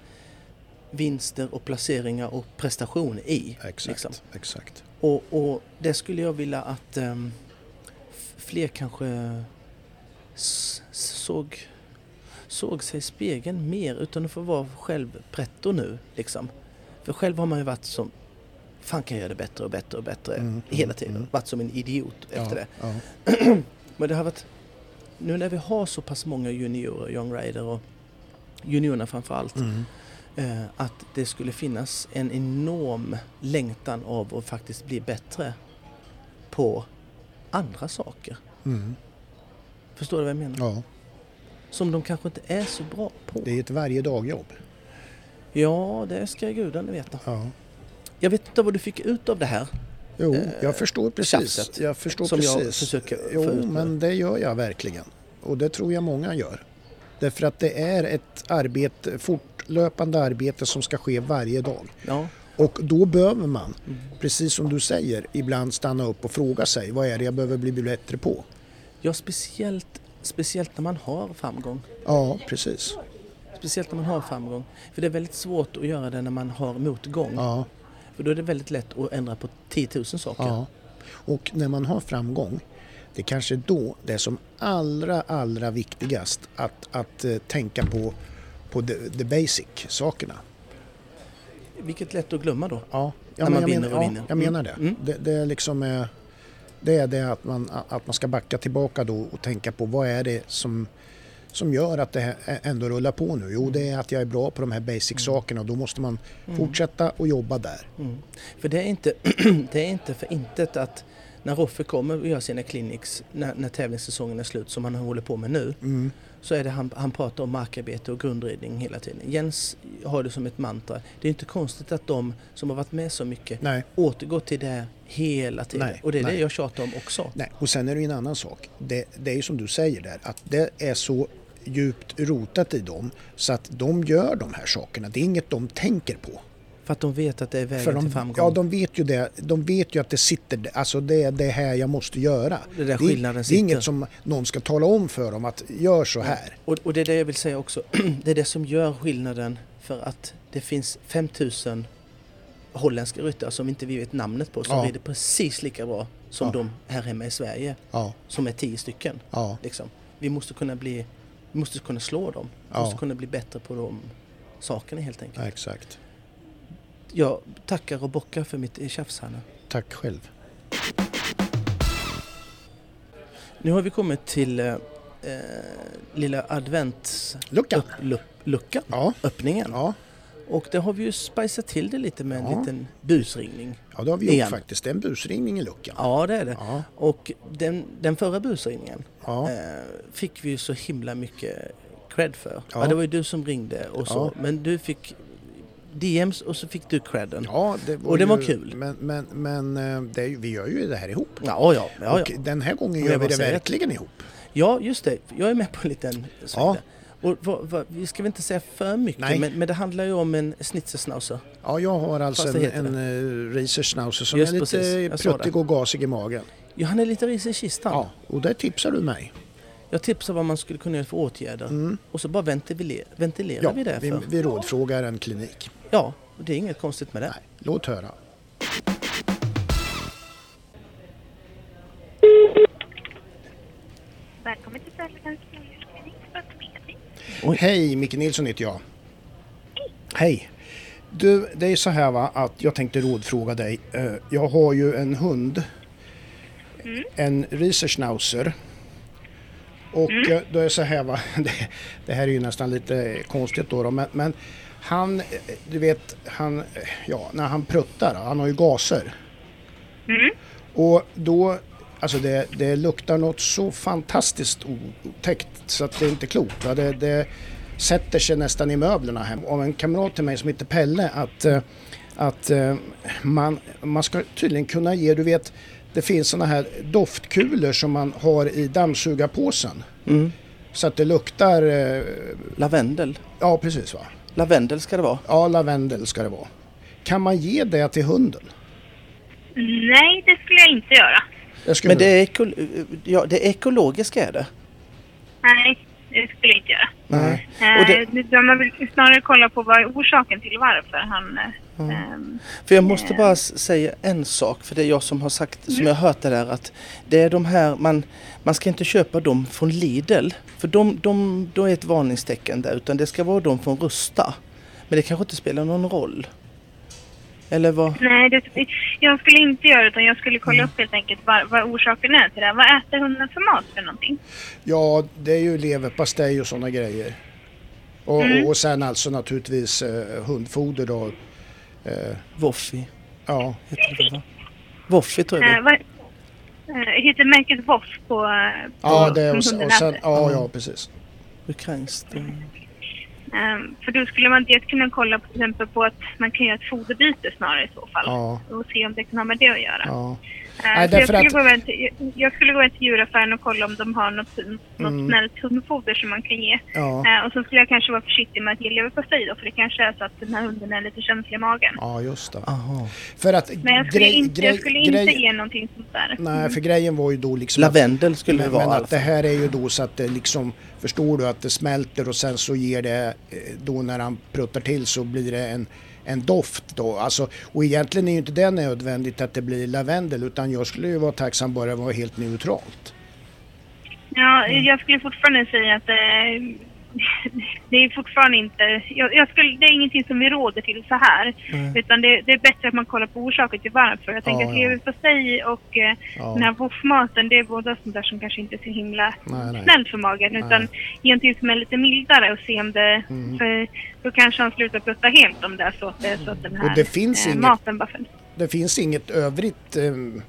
Speaker 1: vinster och placeringar och prestation i.
Speaker 2: exakt,
Speaker 1: liksom.
Speaker 2: exakt.
Speaker 1: Och, och det skulle jag vilja att ehm, f- fler kanske s- såg, såg sig i spegeln mer utan att få vara själv pretto nu. Liksom. För själv har man ju varit som, fan kan jag göra det bättre och bättre och bättre
Speaker 2: Mm,
Speaker 1: Eh, hela
Speaker 2: mm,
Speaker 1: tiden.
Speaker 2: mm.
Speaker 1: Varit som en idiot efter det.
Speaker 2: ja, ja,
Speaker 1: Men det har varit, nu när vi har så pass många juniorer, young rider och juniorerna framför allt,
Speaker 2: mm.
Speaker 1: eh, att det skulle finnas en enorm längtan av att faktiskt bli bättre på andra saker.
Speaker 2: Mm.
Speaker 1: Förstår du vad jag menar?
Speaker 2: ja,
Speaker 1: Som de kanske inte är så bra på.
Speaker 2: det är ett varje dagjobb.
Speaker 1: Ja, det ska gudarna veta.
Speaker 2: Ja.
Speaker 1: Jag vet inte vad du fick ut av det här.
Speaker 2: Jo,
Speaker 1: eh,
Speaker 2: jag förstår precis.
Speaker 1: tjafset
Speaker 2: Jag förstår
Speaker 1: som jag
Speaker 2: precis.
Speaker 1: försöker
Speaker 2: jo,
Speaker 1: få ut nu.
Speaker 2: men det gör jag verkligen. Och det tror jag många gör. Därför att det är ett arbete, fortlöpande arbete som ska ske varje dag.
Speaker 1: Ja,
Speaker 2: Och då behöver man,
Speaker 1: Mm.
Speaker 2: precis som du säger, ibland stanna upp och fråga sig vad är det jag behöver bli bättre på?
Speaker 1: ja speciellt, speciellt när man har framgång.
Speaker 2: Ja, precis.
Speaker 1: Speciellt när man har framgång. För det är väldigt svårt att göra det när man har motgång.
Speaker 2: Ja,
Speaker 1: För då är det väldigt lätt att ändra på 10 000 saker.
Speaker 2: ja. Och när man har framgång, det är kanske då det är som allra, allra viktigast att, att eh, tänka på, på the, the basic, sakerna.
Speaker 1: Vilket är lätt att glömma då.
Speaker 2: Ja, ja
Speaker 1: När man
Speaker 2: jag
Speaker 1: vinner
Speaker 2: menar,
Speaker 1: och
Speaker 2: ja,
Speaker 1: vinner.
Speaker 2: jag menar det.
Speaker 1: Mm.
Speaker 2: det. Det är liksom eh, det, är det att, man, att man ska backa tillbaka då och tänka på vad är det som, som gör att det här ä- ändå rullar på nu?
Speaker 1: Mm.
Speaker 2: Jo, det är att jag är bra på de här basic-sakerna och då måste man
Speaker 1: mm.
Speaker 2: fortsätta och jobba där.
Speaker 1: [clears throat] För det är inte, det är inte för intet att när Roffe kommer och gör sina clinics när, när tävlingssäsongen är slut som han håller på med nu
Speaker 2: Mm.
Speaker 1: så är det han, han pratar om markarbete och grundridning hela tiden. Jens har det som ett mantra. Det är inte konstigt att de som har varit med så mycket
Speaker 2: Nej.
Speaker 1: återgår till det hela tiden.
Speaker 2: Nej,
Speaker 1: och det är det
Speaker 2: nej.
Speaker 1: jag tjatar om också.
Speaker 2: Nej. Och sen är det ju en annan sak. Det, det är ju som du säger där, att det är så djupt rotat i dem så att de gör de här sakerna. Det är inget de tänker på.
Speaker 1: För att de vet att det är vägen
Speaker 2: För de,
Speaker 1: till framgång.
Speaker 2: ja, de vet ju det. De vet ju att det sitter, alltså det är det här jag måste göra.
Speaker 1: Det är där
Speaker 2: det,
Speaker 1: skillnaden
Speaker 2: det är
Speaker 1: sitter.
Speaker 2: inget som någon ska tala om för dem att gör så här.
Speaker 1: Och, och det är det jag vill säga också. [clears throat] det är det som gör skillnaden för att det finns 5000 holländska ryttare som inte vi vet namnet på som
Speaker 2: Ja.
Speaker 1: rider precis lika bra som
Speaker 2: Ja.
Speaker 1: de här hemma i Sverige
Speaker 2: Ja,
Speaker 1: som är 10 stycken.
Speaker 2: ja,
Speaker 1: Liksom. Vi måste kunna bli, vi måste kunna slå dem. Vi
Speaker 2: Ja.
Speaker 1: måste kunna bli bättre på de sakerna helt enkelt.
Speaker 2: ja, exakt.
Speaker 1: Jag tackar och bockar för mitt eh, tjafs här nu.
Speaker 2: Tack själv.
Speaker 1: Nu har vi kommit till eh, eh, lilla adventsluckan.
Speaker 2: Luckan. Ja,
Speaker 1: Öppningen.
Speaker 2: ja,
Speaker 1: Och det har vi ju spicat till det lite med en
Speaker 2: Ja.
Speaker 1: liten busringning.
Speaker 2: ja det har vi gjort
Speaker 1: Igen.
Speaker 2: faktiskt. Det är en busringning i luckan.
Speaker 1: Ja, det är det.
Speaker 2: Ja,
Speaker 1: Och den, den förra busringningen
Speaker 2: ja,
Speaker 1: eh, fick vi ju så himla mycket cred för. Ja.
Speaker 2: Ja.
Speaker 1: det var ju du som ringde och så. Men du fick DMs och så fick du credden. Ja,
Speaker 2: ja det var
Speaker 1: Och det
Speaker 2: ju,
Speaker 1: var kul.
Speaker 2: Men, men, men eh, det är, ju- vi gör ju det här ihop.
Speaker 1: ja, ja. ja,
Speaker 2: Och den här gången
Speaker 1: Men
Speaker 2: gör
Speaker 1: jag
Speaker 2: vi
Speaker 1: bara
Speaker 2: det
Speaker 1: säger-
Speaker 2: verkligen ihop.
Speaker 1: ja just det. Jag är med på en liten sväng
Speaker 2: Ja.
Speaker 1: där. Och vad, vad, vi ska väl inte säga för mycket,
Speaker 2: Nej.
Speaker 1: men, men det handlar ju om en schnitzelschnauzer.
Speaker 2: Ja, jag har alltså
Speaker 1: Fast det
Speaker 2: en,
Speaker 1: heter
Speaker 2: en eh, racer schnauzer som
Speaker 1: Just
Speaker 2: är lite
Speaker 1: precis. Jag sa det.
Speaker 2: pruttig och gasig i magen.
Speaker 1: Ja, han är lite risig i kistan.
Speaker 2: Ja, och där tipsar du mig.
Speaker 1: Jag tipsar vad man skulle kunna göra för åtgärder. Och så bara ventilerar, ventilerar
Speaker 2: Mm. Ja,
Speaker 1: vi det
Speaker 2: vi,
Speaker 1: för.
Speaker 2: vi rådfrågar en klinik.
Speaker 1: Ja, och det är inget konstigt med det.
Speaker 2: Nej, låt höra.
Speaker 3: Välkommen till Sörlagans Sörlagsklinik för ortopedi.
Speaker 1: Oj.
Speaker 2: Hej, Micke Nilsson heter jag. Hej. Du, det är så här va, att jag tänkte rådfråga dig. Eh, Jag har ju en hund. En Rieser Schnauzer. Och eh, då är det så här va, [laughs] det, det här är ju nästan lite konstigt då, då men, men han, eh, du vet, han, eh, ja, när han pruttar, han har ju gaser. Och då, alltså det, det luktar något så fantastiskt o- otäckt så att det är inte klokt. Va? Det, det sätter sig nästan i möblerna hemma. Av en kamrat till mig som heter Pelle att, eh, att eh, man, man ska tydligen kunna ge, du vet, det finns sådana här doftkulor som man har i dammsugarpåsen.
Speaker 1: Mm.
Speaker 2: Så att det luktar, eh,
Speaker 1: Lavendel.
Speaker 2: ja precis va.
Speaker 1: Lavendel ska det vara.
Speaker 2: Ja, lavendel ska det vara. Kan man ge det till hunden?
Speaker 3: Nej, det skulle jag inte göra.
Speaker 2: Det skulle
Speaker 1: Men
Speaker 2: du-
Speaker 1: det, är eko, ja, det är ekologiska är det.
Speaker 3: Nej, det skulle jag inte göra.
Speaker 2: Nej.
Speaker 1: Och det-
Speaker 3: Eh, det- Man vill snarare kolla på vad är orsaken till varför han... eh, ehm,
Speaker 1: För jag måste bara s- säga en sak, för det är jag som har sagt,
Speaker 2: Mm.
Speaker 1: som jag har hört det där att det är de här, man, man ska inte köpa dem från Lidl, för de, de, då är ett varningstecken där, utan det ska vara de från Rusta. Men det kanske inte spelar någon roll. Eller vad?
Speaker 3: nej, det, jag skulle inte göra det utan jag skulle kolla upp helt enkelt vad, vad orsaken är till det. här. Vad äter hunden för mat för någonting?
Speaker 2: Ja, det är ju leverpastej och sådana grejer. Och,
Speaker 3: Mm.
Speaker 2: och, och sen alltså naturligtvis eh, hundfoder då.
Speaker 1: Woffi
Speaker 2: Ja,
Speaker 1: heter det va? Woffi tror jag
Speaker 3: Eh,
Speaker 1: det
Speaker 3: vad, eh, heter märket Voff på... eh, på
Speaker 2: ja, det, och,
Speaker 3: som
Speaker 2: sen-
Speaker 3: hunden
Speaker 2: och sen,
Speaker 3: äter?
Speaker 2: ja, ja Mm. precis.
Speaker 1: Ukrainskt. eh.
Speaker 3: Ehm, för då skulle man dels kunna kolla på, till exempel på att man kan göra ett foderbyte snarare i så fall.
Speaker 2: Ja.
Speaker 3: Och se om det kan ha med det att göra.
Speaker 2: Ja.
Speaker 3: Eh,
Speaker 2: Nej,
Speaker 3: så jag,
Speaker 2: därför
Speaker 3: skulle
Speaker 2: att-
Speaker 3: gå iväg till, jag- jag skulle gå iväg till djuraffären och kolla om de har något, något snällt hundfoder som man kan ge.
Speaker 2: Mm. Ja.
Speaker 3: Eh, och så skulle jag kanske vara försiktig med att ge leverpastej då, för det kanske är så att den här hunden är lite känslig i magen.
Speaker 2: ja, just det.
Speaker 1: Aha.
Speaker 2: För att
Speaker 3: Men jag skulle
Speaker 2: grej-
Speaker 3: inte,
Speaker 2: grej-
Speaker 3: jag skulle inte
Speaker 2: grej-
Speaker 3: ge någonting sånt där.
Speaker 2: Nej, för grejen var ju då liksom... att-
Speaker 1: Lavendel skulle det
Speaker 2: men,
Speaker 1: vara i
Speaker 2: men
Speaker 1: alla
Speaker 2: att det
Speaker 1: fall.
Speaker 2: här är ju då så att det liksom, förstår du att det smälter och sen så ger det, eh, då när han pruttar till så blir det en, en doft då. Alltså, och egentligen är ju inte det nödvändigt att det blir lavendel utan jag skulle ju vara tacksam bara det var helt neutralt.
Speaker 3: Ja, jag skulle fortfarande säga att eh, det är fortfarande inte... Jag, jag skulle, det är ingenting som vi råder till så här. Utan det, det är bättre att man kollar på orsaker till varför. Jag tänker
Speaker 2: Ja,
Speaker 3: att
Speaker 2: ja.
Speaker 3: leverpastej och eh,
Speaker 2: Ja.
Speaker 3: den här voffmaten, det är båda sånt där som kanske inte är så himla
Speaker 2: Nej, nej. Mm.
Speaker 3: snällt för magen. Utan ge någonting som är lite mildare och se om det... För då kanske han slutar prutta helt om det är så att, det är så att den här eh,
Speaker 2: det finns inget-
Speaker 3: maten bara för...
Speaker 2: Det finns inget övrigt eh,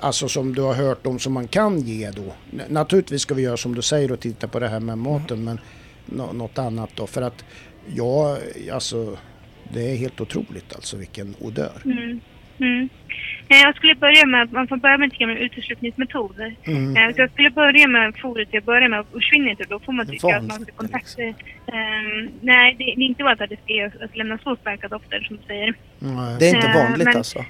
Speaker 2: Alltså som du har hört om som man kan ge då. N- Naturligtvis ska vi göra som du säger och titta på det här med maten men nå- något annat då. För att ja, alltså det är helt otroligt alltså vilken odör.
Speaker 3: Mm. Eh, Jag skulle börja med, man får börja med lite gamla uteslutningsmetoder. Eh, Så jag skulle börja med fodret jag börjar med och försvinner inte då får man tycka att man
Speaker 1: Vansinnigt,
Speaker 3: ska kontakta... Ehm, nej, det, det är inte bara att det ska att lämna så starka dofter som du säger.
Speaker 2: Nej.
Speaker 1: Det är inte
Speaker 3: Eh,
Speaker 1: vanligt
Speaker 3: men-
Speaker 1: alltså.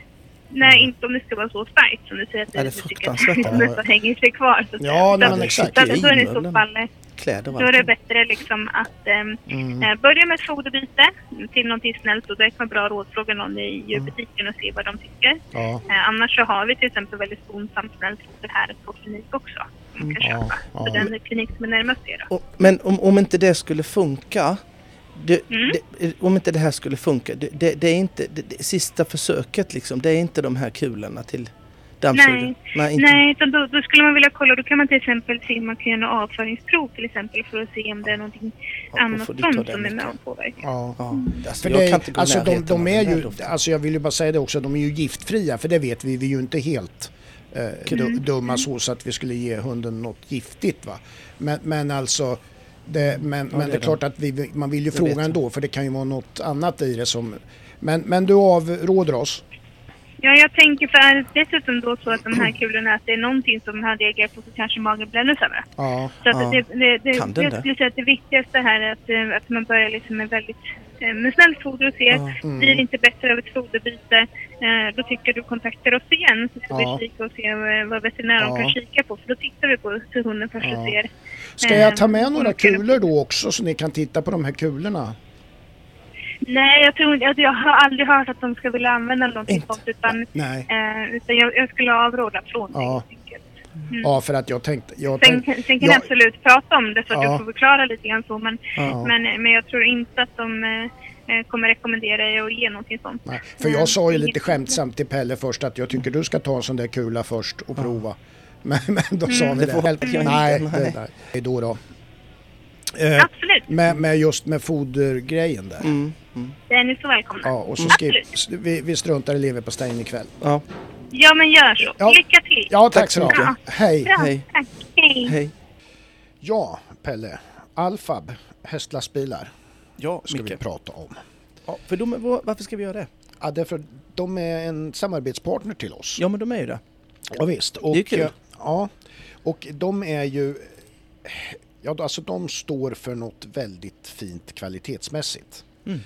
Speaker 3: Nej, inte om det ska vara så starkt som du säger. Att
Speaker 1: Ja, det är
Speaker 3: du tycker att
Speaker 1: fruktansvärt.
Speaker 3: [laughs] det nästan hänger sig kvar. Så
Speaker 2: Ja,
Speaker 3: att säga.
Speaker 2: nej,
Speaker 3: Utan-
Speaker 2: men exakt.
Speaker 3: utan Då är det i så
Speaker 1: Munnen.
Speaker 3: fall... eh,
Speaker 1: Kläder och
Speaker 3: Då är det
Speaker 1: allting.
Speaker 3: bättre liksom att ehm,
Speaker 2: Mm.
Speaker 3: eh, börja med ett foderbyte till någonting snällt och där kan man bra rådfråga någon i djurbutiken och se vad de tycker.
Speaker 2: Ja,
Speaker 3: Eh, annars så har vi till exempel väldigt skonsamt snällt foder här på klinik också. Man kan
Speaker 1: Mm.
Speaker 2: ja,
Speaker 3: köpa. Så
Speaker 2: ja.
Speaker 3: den klinik som är närmast er då.
Speaker 1: Och, men om, om inte det skulle funka, det,
Speaker 3: Mm.
Speaker 1: det, eh, om inte det här skulle funka, det, det, det är inte det, det, sista försöket liksom, det är inte de här kulorna till dammsugaren? Nej, inte.
Speaker 3: Nej, utan då, då skulle man vilja kolla, då kan man till exempel se om man kan göra några avföringsprov till exempel för att se om det är någonting
Speaker 1: Ja, då
Speaker 3: annat
Speaker 1: får du
Speaker 3: sånt
Speaker 1: ta den
Speaker 3: som är med
Speaker 1: micken.
Speaker 3: och påverkar.
Speaker 2: ja.
Speaker 1: Ja, alltså,
Speaker 2: Mm. För
Speaker 1: jag
Speaker 2: det,
Speaker 1: kan inte gå
Speaker 2: alltså
Speaker 1: i
Speaker 2: de,
Speaker 1: närheten
Speaker 2: de
Speaker 1: av
Speaker 2: är
Speaker 1: den här
Speaker 2: ju,
Speaker 1: doften.
Speaker 2: alltså jag vill ju bara säga det också, de är ju giftfria för det vet vi, vi är ju inte helt eh, du- dumma så, så att vi skulle ge hunden något giftigt va. Men, men alltså, det, men, men
Speaker 1: det
Speaker 2: det är
Speaker 1: är
Speaker 2: klart att vi, man vill ju
Speaker 1: vet
Speaker 2: fråga
Speaker 1: jag.
Speaker 2: ändå för det kan ju vara något annat i det som, men, men du avråder oss?
Speaker 3: Ja, jag tänker för är det dessutom då så att de här kulorna, att det är någonting som har reagerat på så kanske magen bränner över.
Speaker 2: Ja,
Speaker 3: Så att
Speaker 1: Ja.
Speaker 3: det, det, det,
Speaker 1: Kan den
Speaker 3: jag
Speaker 1: det?
Speaker 3: skulle säga att det viktigaste här är att, eh, att man börjar liksom med väldigt eh, med snällt foder och ser,
Speaker 1: Ja. mm.
Speaker 3: blir det inte bättre av ett foderbyte, eh, då tycker jag du kontaktar oss igen så ska
Speaker 2: Ja.
Speaker 3: vi kika och se eh, vad veterinären
Speaker 2: Ja.
Speaker 3: kan kika på för då tittar vi på hur hunden först
Speaker 2: Ja.
Speaker 3: ser.
Speaker 2: ska jag ta
Speaker 3: Eh,
Speaker 2: med några
Speaker 3: och kan-
Speaker 2: kulor då också så ni kan titta på de här kulorna?
Speaker 3: Nej, jag tror inte, alltså, jag har aldrig hört att de ska vilja använda någonting
Speaker 1: Inte.
Speaker 3: sånt utan,
Speaker 2: Nej.
Speaker 3: eh, utan jag, jag skulle avråda från det
Speaker 2: Ja.
Speaker 3: helt enkelt.
Speaker 2: Ja, för att jag tänkte, jag
Speaker 3: Sen,
Speaker 2: tänkte,
Speaker 3: sen kan jag
Speaker 2: jag-
Speaker 3: absolut prata om det så att
Speaker 2: Ja.
Speaker 3: du får förklara lite grann så men,
Speaker 2: Ja.
Speaker 3: men, men jag tror inte att de eh, eh, kommer rekommendera er att ge någonting sånt.
Speaker 2: Nej, för jag sa ju lite skämtsamt till Pelle först att jag tycker du ska ta en sån där kula först och prova. [laughs] Men, men då sa vi
Speaker 1: Mm. Det får
Speaker 2: det.
Speaker 1: jag inte,
Speaker 2: Nej,
Speaker 1: nej.
Speaker 2: det där. Det är då då. Eh,
Speaker 3: Absolut,
Speaker 2: med, med just med fodergrejen där.
Speaker 1: Mm, mm.
Speaker 3: det är ni så välkomna.
Speaker 2: Ja, och så skip,
Speaker 3: Absolut.
Speaker 2: s- vi, vi struntar i leverpastejen ikväll.
Speaker 1: Ja,
Speaker 3: Ja men gör så.
Speaker 2: Ja.
Speaker 3: Lycka till!
Speaker 2: Ja, tack,
Speaker 1: Tack
Speaker 2: så
Speaker 1: så
Speaker 2: mycket.
Speaker 3: mycket.
Speaker 2: Hej.
Speaker 3: Bra,
Speaker 1: hej.
Speaker 3: tack. Hej.
Speaker 1: hej.
Speaker 2: Ja, Pelle. Alfab, hästlastbilar,
Speaker 1: Ja,
Speaker 2: ska vi
Speaker 1: Micke.
Speaker 2: prata om.
Speaker 1: Ja, för de, var- varför ska vi göra det?
Speaker 2: Ja, därför att de är en samarbetspartner till oss.
Speaker 1: Ja, men de är ju det.
Speaker 2: Ja, visst. Och,
Speaker 1: Det är kul.
Speaker 2: eh, Ja, och de är ju... Ja, då, alltså de står för något väldigt fint kvalitetsmässigt.
Speaker 1: Mm.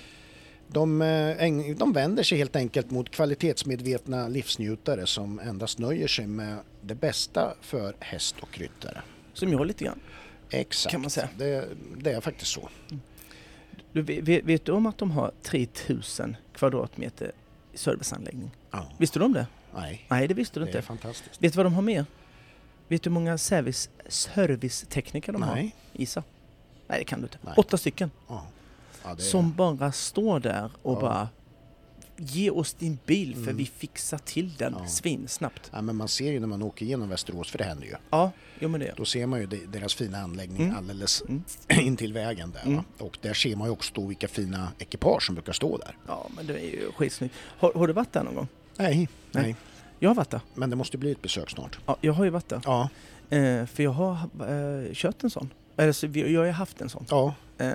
Speaker 2: De, eh, äng- de vänder sig helt enkelt mot kvalitetsmedvetna livsnjutare som endast nöjer sig med det bästa för häst och ryttare.
Speaker 1: Som jag lite grann.
Speaker 2: Exakt,
Speaker 1: Kan man säga.
Speaker 2: Det, det är faktiskt så.
Speaker 1: Du, ve- ve- vet du om att de har 3000 kvadratmeter serviceanläggning?
Speaker 2: Ja.
Speaker 1: Visste du om det?
Speaker 2: Nej,
Speaker 1: Nej, det visste du
Speaker 2: det
Speaker 1: inte.
Speaker 2: är fantastiskt.
Speaker 1: Vet du vad de har mer? Vet du hur många service, servicetekniker de har?
Speaker 2: Nej.
Speaker 1: Isa? Nej, det kan du inte.
Speaker 2: Nej.
Speaker 1: Åtta stycken
Speaker 2: Ja. Ja, det är-
Speaker 1: som bara står där och
Speaker 2: Ja. Mm.
Speaker 1: bara Ge oss din bil för vi fixar till den
Speaker 2: Ja.
Speaker 1: svinsnabbt.
Speaker 2: ja, men man ser ju när man åker igenom Västerås, för det händer ju.
Speaker 1: Ja, jo men det gör
Speaker 2: Då ser man ju de- deras fina anläggning
Speaker 1: Mm.
Speaker 2: alldeles
Speaker 1: Mm.
Speaker 2: [clears throat] intill vägen där. Va? Och där ser man ju också då vilka fina ekipage som brukar stå där.
Speaker 1: Ja, men det är ju skitsnyggt. Har, har du varit där någon gång?
Speaker 2: Nej, nej.
Speaker 1: Nej. Jag har varit där.
Speaker 2: Men det måste bli ett besök snart.
Speaker 1: Ja, jag har ju varit där.
Speaker 2: Ja,
Speaker 1: Eh, för jag har eh, kört en sån. Alltså, vi- jag har ju haft en sån.
Speaker 2: ja,
Speaker 1: Eh,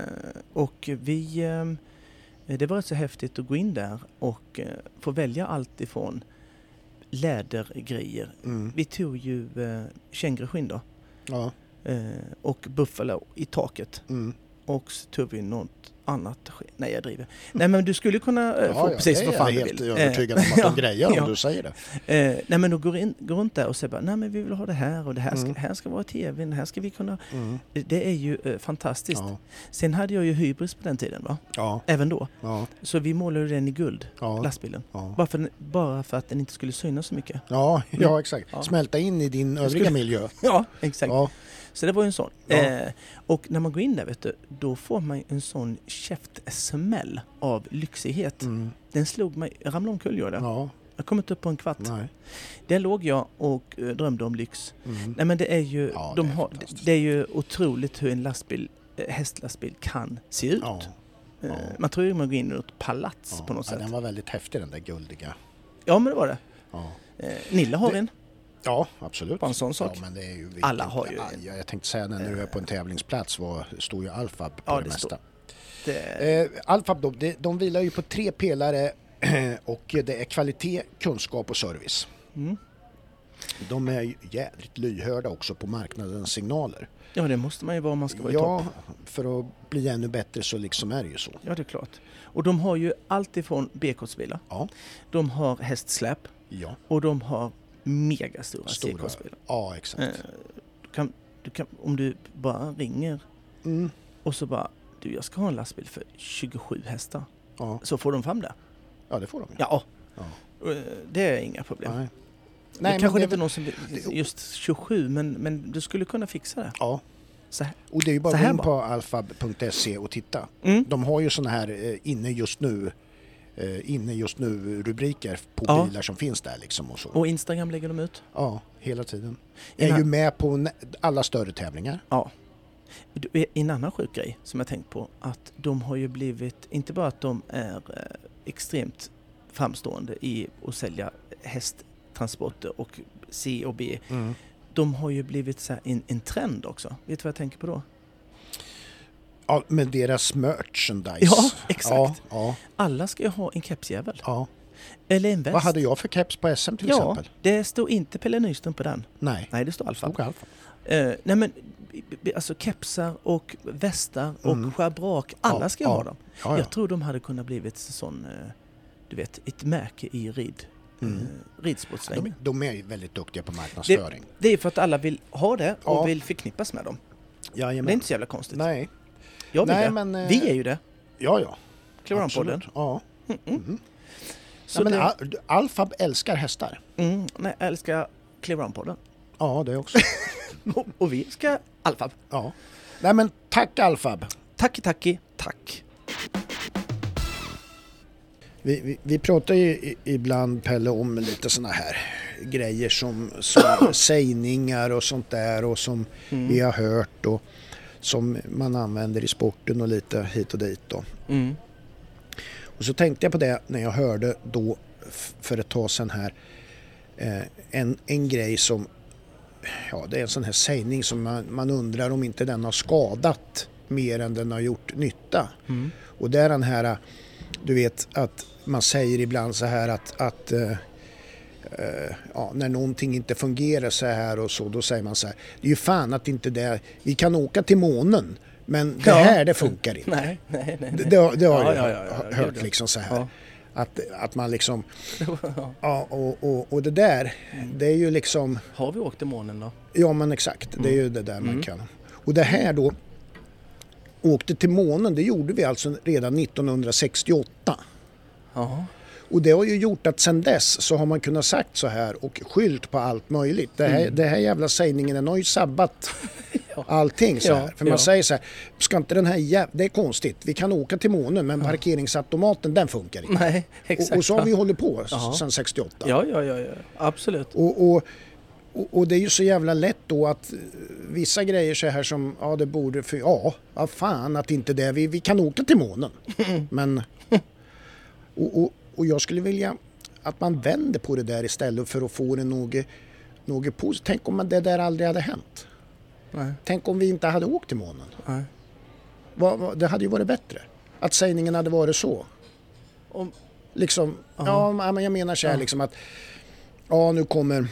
Speaker 1: och vi... ehm, det var rätt så häftigt att gå in där och eh, få välja allt ifrån lädergrejer.
Speaker 2: mm,
Speaker 1: Vi tog ju eh, kängurusskinn då
Speaker 2: ja,
Speaker 1: eh, och buffalo i taket.
Speaker 2: mm.
Speaker 1: Och så tog vi något annat skinn. Nej, jag driver. Nej, men du skulle kunna eh,
Speaker 2: ja,
Speaker 1: få
Speaker 2: ja,
Speaker 1: precis
Speaker 2: det
Speaker 1: vad
Speaker 2: är
Speaker 1: fan
Speaker 2: jag
Speaker 1: du
Speaker 2: helt
Speaker 1: vill. Eh,
Speaker 2: övertygad om att de
Speaker 1: ja,
Speaker 2: grejer om
Speaker 1: ja.
Speaker 2: du säger det.
Speaker 1: Eh, nej men då går, in, går runt där och säger bara, nej men vi vill ha det här och det här ska,
Speaker 2: Mm.
Speaker 1: här ska vara tvn, här ska vi kunna...
Speaker 2: Mm.
Speaker 1: Det- Det är ju eh, fantastiskt.
Speaker 2: Ja,
Speaker 1: Sen hade jag ju hybris på den tiden va?
Speaker 2: ja,
Speaker 1: Även då.
Speaker 2: ja,
Speaker 1: Så vi målade den i guld,
Speaker 2: ja,
Speaker 1: lastbilen.
Speaker 2: ja.
Speaker 1: Bara för, den- bara för att den inte skulle synas så mycket.
Speaker 2: Ja, ja, exakt.
Speaker 1: Mm. Ja.
Speaker 2: Smälta in i din övriga
Speaker 1: skulle-
Speaker 2: miljö.
Speaker 1: Ja, [laughs] exakt.
Speaker 2: [laughs] Ja,
Speaker 1: Så det var ju en sån.
Speaker 2: Ja.
Speaker 1: Eh, och när man går in där vet du, då får man ju en sån käftsmäll av lyxighet.
Speaker 2: mm,
Speaker 1: Den slog mig, jag ramlade omkull gjorde jag.
Speaker 2: ja,
Speaker 1: Jag kom inte upp på en kvart.
Speaker 2: nej.
Speaker 1: Där låg jag och eh, drömde om lyx.
Speaker 2: Mm.
Speaker 1: Nej men det är ju,
Speaker 2: Ja,
Speaker 1: de
Speaker 2: det
Speaker 1: det,
Speaker 2: är
Speaker 1: har,
Speaker 2: fantastiskt.
Speaker 1: det är ju otroligt hur en lastbil, eh, hästlastbil kan se ut.
Speaker 2: Ja,
Speaker 1: Eh,
Speaker 2: ja.
Speaker 1: Man tror ju man går in i ett palats
Speaker 2: ja.
Speaker 1: på något
Speaker 2: ja,
Speaker 1: sätt.
Speaker 2: den var väldigt häftig den där guldiga.
Speaker 1: Ja men det var det.
Speaker 2: Ja.
Speaker 1: Eh, Nilla har
Speaker 2: Det-
Speaker 1: en.
Speaker 2: Ja, absolut.
Speaker 1: Bara en sån sak.
Speaker 2: Ja, men det är ju
Speaker 1: Alla
Speaker 2: vilket-
Speaker 1: har ju
Speaker 2: Ja,
Speaker 1: en.
Speaker 2: Jag, jag tänkte säga det, när du är på en tävlingsplats var, står ju Alfab på
Speaker 1: Ja,
Speaker 2: det,
Speaker 1: det står-
Speaker 2: mesta.
Speaker 1: Det,
Speaker 2: Eh, Alfab, de, de, de vilar ju på tre pelare [clears throat] och det är kvalitet, kunskap och service.
Speaker 1: Mm.
Speaker 2: De är ju jävligt lyhörda också på marknadens signaler.
Speaker 1: ja, det måste man ju vara om man ska vara i topp.
Speaker 2: Ja, för att bli ännu bättre så liksom är det ju så.
Speaker 1: Ja, det är klart. Och de har ju allt ifrån B-kortsbilar,
Speaker 2: Ja,
Speaker 1: de har hästsläp
Speaker 2: ja.
Speaker 1: och de har megastora
Speaker 2: Stora.
Speaker 1: C-kortsbilar.
Speaker 2: Ja, exakt.
Speaker 1: Eh, Du kan, du kan, om du bara ringer
Speaker 2: Mm.
Speaker 1: och så bara du, jag ska ha en lastbil för 27 hästar.
Speaker 2: Ja,
Speaker 1: Så får de fram det.
Speaker 2: ja det får de ju.
Speaker 1: Ja,
Speaker 2: Ja.
Speaker 1: Eh, det är inga problem.
Speaker 2: Nej.
Speaker 1: det
Speaker 2: men
Speaker 1: kanske
Speaker 2: det-
Speaker 1: inte är någon som just 27, men, men du skulle kunna fixa det.
Speaker 2: Ja,
Speaker 1: Så här.
Speaker 2: och det är ju bara
Speaker 1: Så
Speaker 2: att gå
Speaker 1: här
Speaker 2: in
Speaker 1: bara.
Speaker 2: på alfab.se och titta.
Speaker 1: Mm.
Speaker 2: De har ju sådana här eh, inne just nu eh, inne just nu rubriker på
Speaker 1: Ja.
Speaker 2: bilar som finns där liksom och så.
Speaker 1: Och Instagram lägger de ut.
Speaker 2: Ja, hela tiden. Jag är
Speaker 1: Innan-
Speaker 2: ju med på nä- alla större tävlingar.
Speaker 1: Ja. Du, eh, En annan sjuk grej som jag tänkt på, att de har ju blivit, inte bara att de är eh, extremt framstående i att sälja hästtransporter och C och B. De har ju blivit så här en, en trend också. Vet du vad jag tänker på då?
Speaker 2: Ja, men deras merchandise.
Speaker 1: Ja, exakt.
Speaker 2: Ja, ja,
Speaker 1: Alla ska ju ha en kepsjävel.
Speaker 2: ja.
Speaker 1: Eller en väst.
Speaker 2: Vad hade jag för keps på SM till
Speaker 1: Ja,
Speaker 2: exempel? Oh.
Speaker 1: det står inte Pelle Nyström på den.
Speaker 2: Nej.
Speaker 1: Nej, det står Alfa.
Speaker 2: Stod Alfa.
Speaker 1: Eh, nej men, b- b- alltså kepsar och västar och
Speaker 2: Mm.
Speaker 1: schabrak, alla
Speaker 2: Ja,
Speaker 1: ska ju
Speaker 2: ja.
Speaker 1: ha dem.
Speaker 2: Ah, Ja, ja.
Speaker 1: Jag tror de hade kunnat blivit sån, eh, du vet, ett märke i rid, eh, ridsportsvängen.
Speaker 2: Mm. De, de är ju väldigt duktiga på marknadsföring.
Speaker 1: Det är för att alla vill ha det och
Speaker 2: Ja.
Speaker 1: vill förknippas med dem. Men det är
Speaker 2: Jajamän.
Speaker 1: inte så jävla konstigt.
Speaker 2: Nej.
Speaker 1: jag vill
Speaker 2: nej,
Speaker 1: det.
Speaker 2: men, eh,
Speaker 1: Vi är ju det,
Speaker 2: Ja, ja.
Speaker 1: Kloranpodden.
Speaker 2: Absolut. Ja. Mhm.
Speaker 1: Så
Speaker 2: Nej, men
Speaker 1: det,
Speaker 2: Al- Alfab älskar hästar.
Speaker 1: mm, nej, jag älskar Kloranpodden.
Speaker 2: Ja, det också.
Speaker 1: Och, och vi ska Alfab.
Speaker 2: [laughs] ja. Nej, men tack Alfab.
Speaker 1: Tacki tacki, tack.
Speaker 2: Vi, vi, vi pratar ju i- ibland Pelle om lite sådana här grejer som, som [coughs] sägningar och sånt där och som vi har hört och som man använder i sporten och lite hit och dit då.
Speaker 1: Mm.
Speaker 2: Och så tänkte jag på det när jag hörde då f- för ett tag sedan här eh, en, en grej som, ja det är en sån här sägning som man, man undrar om inte den har skadat mer än den har gjort nytta. Och det är den här, eh, du vet att man säger ibland så här att, att eh, eh, Ja, när någonting inte fungerar så här och så, då säger man så här. Det är ju fan att inte det... Vi kan åka till månen, men det
Speaker 1: Ja.
Speaker 2: här det
Speaker 1: [laughs]
Speaker 2: funkar inte.
Speaker 1: Nej, nej, nej.
Speaker 2: Det,
Speaker 1: nej.
Speaker 2: det har, det har
Speaker 1: Ja,
Speaker 2: jag
Speaker 1: ja, ja, ja,
Speaker 2: hört
Speaker 1: gud, ja.
Speaker 2: liksom så här.
Speaker 1: Ja.
Speaker 2: Att, att
Speaker 1: [laughs]
Speaker 2: man liksom... Ja, och, och, och det där,
Speaker 1: Mm.
Speaker 2: det är ju liksom...
Speaker 1: Har vi åkt till månen då?
Speaker 2: Ja men exakt, det är
Speaker 1: Mm.
Speaker 2: ju det där man kan. Och det här då, åkte till månen, det gjorde vi alltså redan 1968.
Speaker 1: Ja.
Speaker 2: Och det har ju gjort att sedan dess så har man kunnat sagt så här och skylt på allt möjligt. Det här, det här jävla sägningen den har ju sabbat allting så
Speaker 1: Mm. [laughs] Ja,
Speaker 2: här. För man
Speaker 1: ja.
Speaker 2: säger så här, ska inte den här jäv... Det är konstigt, vi kan åka till månen men parkeringsautomaten den funkar inte.
Speaker 1: Nej, exakt.
Speaker 2: och, och så har vi hållit på s-
Speaker 1: Ja.
Speaker 2: sedan 68.
Speaker 1: Ja, ja, ja, ja. absolut.
Speaker 2: Och, och, och, och det är ju så jävla lätt då att eh, vissa grejer så här som, ja det borde, för ja, vad fan att inte det, vi, vi kan åka till månen.
Speaker 1: Mm.
Speaker 2: Men, [laughs] och, och, och jag skulle vilja att man vänder på det där istället för att få det något, något positivt. Tänk om det där aldrig hade hänt.
Speaker 1: Nej.
Speaker 2: Tänk om vi inte hade åkt till månen.
Speaker 1: Nej.
Speaker 2: Vad, vad, det hade ju varit bättre. Att sägningen hade varit så.
Speaker 1: Om,
Speaker 2: Liksom, ja, men jag menar så här liksom att ja, nu kommer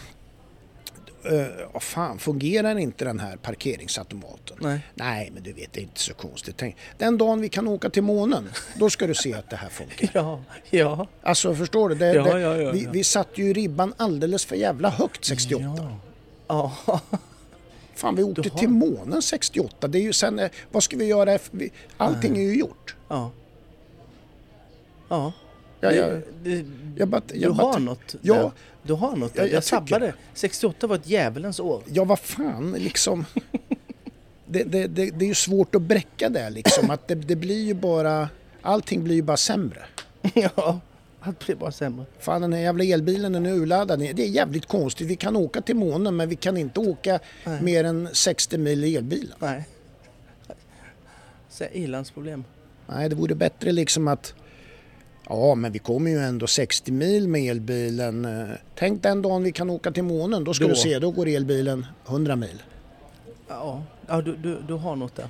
Speaker 2: eh, ja, fan, fungerar inte den här parkeringsautomaten?
Speaker 1: nej.
Speaker 2: Nej, men du vet, det är inte så konstigt. Tänk, den dagen vi kan åka till månen, då ska du se att det
Speaker 1: [laughs]
Speaker 2: här funkar.
Speaker 1: Ja, ja.
Speaker 2: Alltså, förstår du? Det,
Speaker 1: Ja,
Speaker 2: det,
Speaker 1: ja, ja,
Speaker 2: vi,
Speaker 1: ja.
Speaker 2: vi satte ju ribban alldeles för jävla högt 68.
Speaker 1: Ja.
Speaker 2: Fan, vi åkte till månen 68. Det är ju sen, eh, vad ska vi göra? efter- vi- Allting är ju gjort.
Speaker 1: Ja. Ja.
Speaker 2: Ja,
Speaker 1: Det-
Speaker 2: jag,
Speaker 1: det-
Speaker 2: jag bara, jag
Speaker 1: du
Speaker 2: bara
Speaker 1: har
Speaker 2: tänk-
Speaker 1: något
Speaker 2: Ja.
Speaker 1: där. Du har något där.
Speaker 2: Ja, jag
Speaker 1: Jag
Speaker 2: tycker-
Speaker 1: sabbade. 68 var ett djävulens
Speaker 2: [laughs]
Speaker 1: år.
Speaker 2: ja vad fan liksom. Det, det, det, det är ju svårt att bräcka det liksom. Att det, det blir ju bara, allting blir ju bara sämre.
Speaker 1: Ja. Allt blev bara sämre.
Speaker 2: Fan den här jävla elbilen den är urladdad. Det är jävligt konstigt. Vi kan åka till månen men vi kan inte åka mer än 60 mil i elbilen.
Speaker 1: Nej. Så här, i-landsproblem.
Speaker 2: Nej det vore bättre liksom att Ja, men vi kommer ju ändå 60 mil med elbilen. Eh, Tänk den dagen vi kan åka till månen, då ska
Speaker 1: Då.
Speaker 2: du se, då går elbilen 100 mil.
Speaker 1: Ja, ja du, du, du har något där.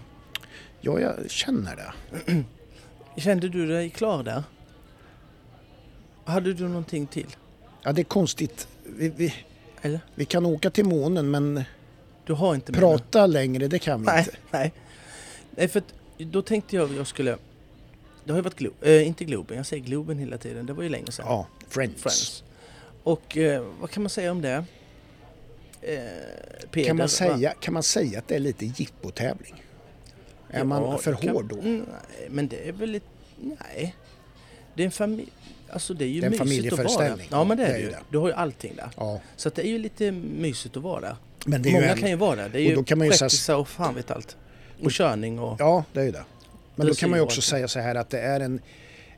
Speaker 2: Ja, jag känner det.
Speaker 1: Kände du dig klar där? Hade du någonting till?
Speaker 2: Ja, det är konstigt. Vi, vi,
Speaker 1: Eller?
Speaker 2: vi kan åka till månen, men
Speaker 1: Du har inte mer nu?
Speaker 2: prata längre, det kan
Speaker 1: [laughs]
Speaker 2: vi
Speaker 1: Nej,
Speaker 2: inte.
Speaker 1: nej. Nej, för att då tänkte jag att jag skulle... Det har ju varit Globen, eh, inte Globen, jag säger Globen hela tiden. Det var ju länge sedan.
Speaker 2: Ja, Friends.
Speaker 1: Friends. Och eh, vad kan man säga om det? Eh, Peder,
Speaker 2: Kan, man
Speaker 1: va?
Speaker 2: säga, kan man säga att det är lite jippotävling? Är
Speaker 1: Ja,
Speaker 2: man för
Speaker 1: det kan-
Speaker 2: hård då?
Speaker 1: Mm, Nej, men det är väl ett... Nej. Det är en familj... Alltså det är ju
Speaker 2: Det är en
Speaker 1: mysigt att vara där.
Speaker 2: familjeföreställning.
Speaker 1: Ja men det är
Speaker 2: Det
Speaker 1: det
Speaker 2: är
Speaker 1: ju.
Speaker 2: ju det.
Speaker 1: Du har ju allting där.
Speaker 2: Ja,
Speaker 1: Så att det är ju lite mysigt att vara där.
Speaker 2: men det är ju
Speaker 1: Många
Speaker 2: en...
Speaker 1: kan ju vara där. Det
Speaker 2: och
Speaker 1: är
Speaker 2: då
Speaker 1: ju
Speaker 2: kan man ju säga- Mm.
Speaker 1: skeptisar och fan vet allt. Och körning och...
Speaker 2: Ja, det är ju det. Men
Speaker 1: Det
Speaker 2: då
Speaker 1: ser
Speaker 2: kan man ju
Speaker 1: ju
Speaker 2: också
Speaker 1: alltid.
Speaker 2: säga så här att det är en,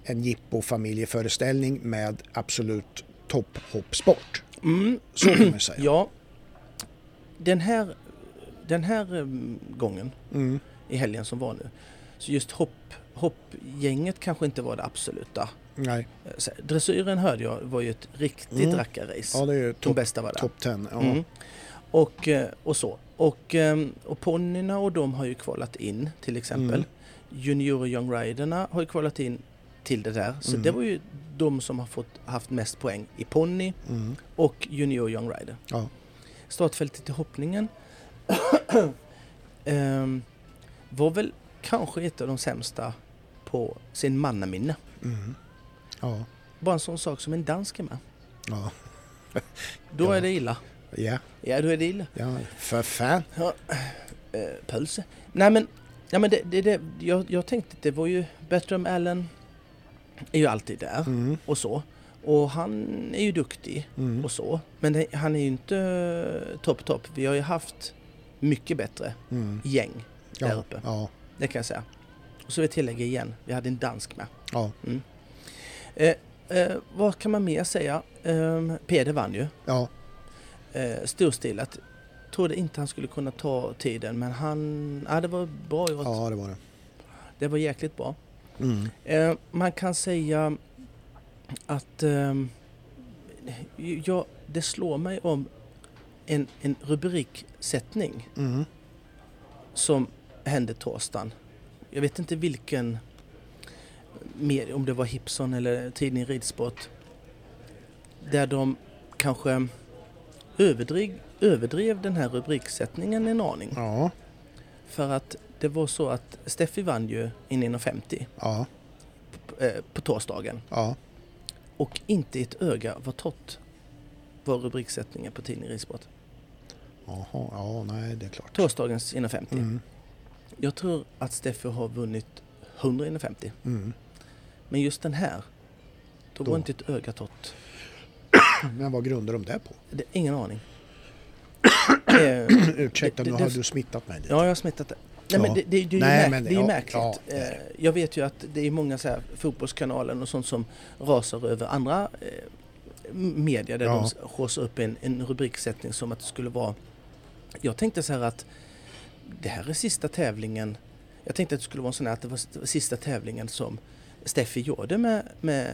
Speaker 2: en jippo-familjeföreställning med absolut topphoppsport.
Speaker 1: Mm,
Speaker 2: Så kan man ju
Speaker 1: [clears throat]
Speaker 2: säga.
Speaker 1: ja. Den här, den här em, gången
Speaker 2: Mm.
Speaker 1: i helgen som var nu. Så just hopp, hoppgänget kanske inte var det absoluta.
Speaker 2: Nej,
Speaker 1: Eh, så- Dressyren hörde jag var ju ett riktigt
Speaker 2: Mm.
Speaker 1: rackarrace.
Speaker 2: ja det är ju
Speaker 1: De
Speaker 2: topp
Speaker 1: bästa var där.
Speaker 2: top 10. Ja.
Speaker 1: Mm. Och, eh, och så. Och, em, och ponnyerna och de har ju kvalat in till exempel.
Speaker 2: Mm.
Speaker 1: Junior och Young Riderna har ju kvalat in till det där. Så
Speaker 2: Mm.
Speaker 1: det var ju de som har fått, haft mest poäng i ponny
Speaker 2: Mm.
Speaker 1: och Junior och Young Rider.
Speaker 2: Ja.
Speaker 1: Startfältet i hoppningen [coughs] ehm, var väl kanske ett av de sämsta på sin mannaminne.
Speaker 2: Mm. Ja.
Speaker 1: Bara en sån sak som en dansk är med.
Speaker 2: Ja.
Speaker 1: Då
Speaker 2: Ja.
Speaker 1: är det illa.
Speaker 2: Ja.
Speaker 1: Ja, då är det illa.
Speaker 2: ja, för fan.
Speaker 1: Eh, Pölse. Nej men, nej, men det, det, det, jag, jag tänkte att det var ju Bertram Allen är ju alltid där
Speaker 2: Mm.
Speaker 1: och så. Och han är ju duktig
Speaker 2: Mm.
Speaker 1: och så. Men det, han är ju inte eh, topp topp. Vi har ju haft mycket bättre
Speaker 2: Mm.
Speaker 1: gäng där
Speaker 2: Ja.
Speaker 1: uppe.
Speaker 2: Ja.
Speaker 1: Det kan jag säga. Och så vill jag tillägga igen, vi hade en dansk med.
Speaker 2: Ja.
Speaker 1: Eh, eh, vad kan man mer säga? Eh, Peder vann ju.
Speaker 2: ja.
Speaker 1: Eh, storstilat. Trodde inte han skulle kunna ta tiden men han... Ja, det var bra gjort.
Speaker 2: Ja, det var det.
Speaker 1: Det var jäkligt bra.
Speaker 2: Mm.
Speaker 1: Eh, man kan säga att... ehm, ja, det slår mig om en, en rubriksättning
Speaker 2: Mm.
Speaker 1: som hände torsdagen. Jag vet inte vilken, mer, om det var Hipson eller tidningen Ridsport, där de kanske överdrev, överdrev den här rubriksättningen en aning.
Speaker 2: Ja.
Speaker 1: För att det var så att Steffi vann ju in 1,50
Speaker 2: Ja.
Speaker 1: på, eh, på torsdagen
Speaker 2: Ja.
Speaker 1: och inte ett öga var torrt var rubriksättningen på tidningen Ridsport.
Speaker 2: Jaha. Ja, nej, det är klart.
Speaker 1: Torsdagens 1,50.
Speaker 2: Mm.
Speaker 1: Jag tror att Steffi har vunnit 100 1,50.
Speaker 2: Mm.
Speaker 1: Men just den här, då,
Speaker 2: Då.
Speaker 1: var inte ett öga torrt.
Speaker 2: Men vad grundar de det på?
Speaker 1: Det är ingen aning. eh, [clears throat]
Speaker 2: Ursäkta,
Speaker 1: Det-
Speaker 2: nu
Speaker 1: det-
Speaker 2: har
Speaker 1: det-
Speaker 2: du smittat mig lite.
Speaker 1: ja, jag har smittat det. Nej,
Speaker 2: Ja.
Speaker 1: men det, det, det, är ju
Speaker 2: Nej,
Speaker 1: märk-
Speaker 2: men
Speaker 1: det är ju
Speaker 2: ja,
Speaker 1: märkligt.
Speaker 2: ja, det är
Speaker 1: eh, jag vet ju att det är många så här, fotbollskanalen och sånt som rasar över andra eh, media där
Speaker 2: Ja.
Speaker 1: de s- haussar upp en, en rubriksättning som att det skulle vara... Jag tänkte så här att det här är sista tävlingen. Jag tänkte att det skulle vara en sån här att det var s- sista tävlingen som Steffi gjorde med, med,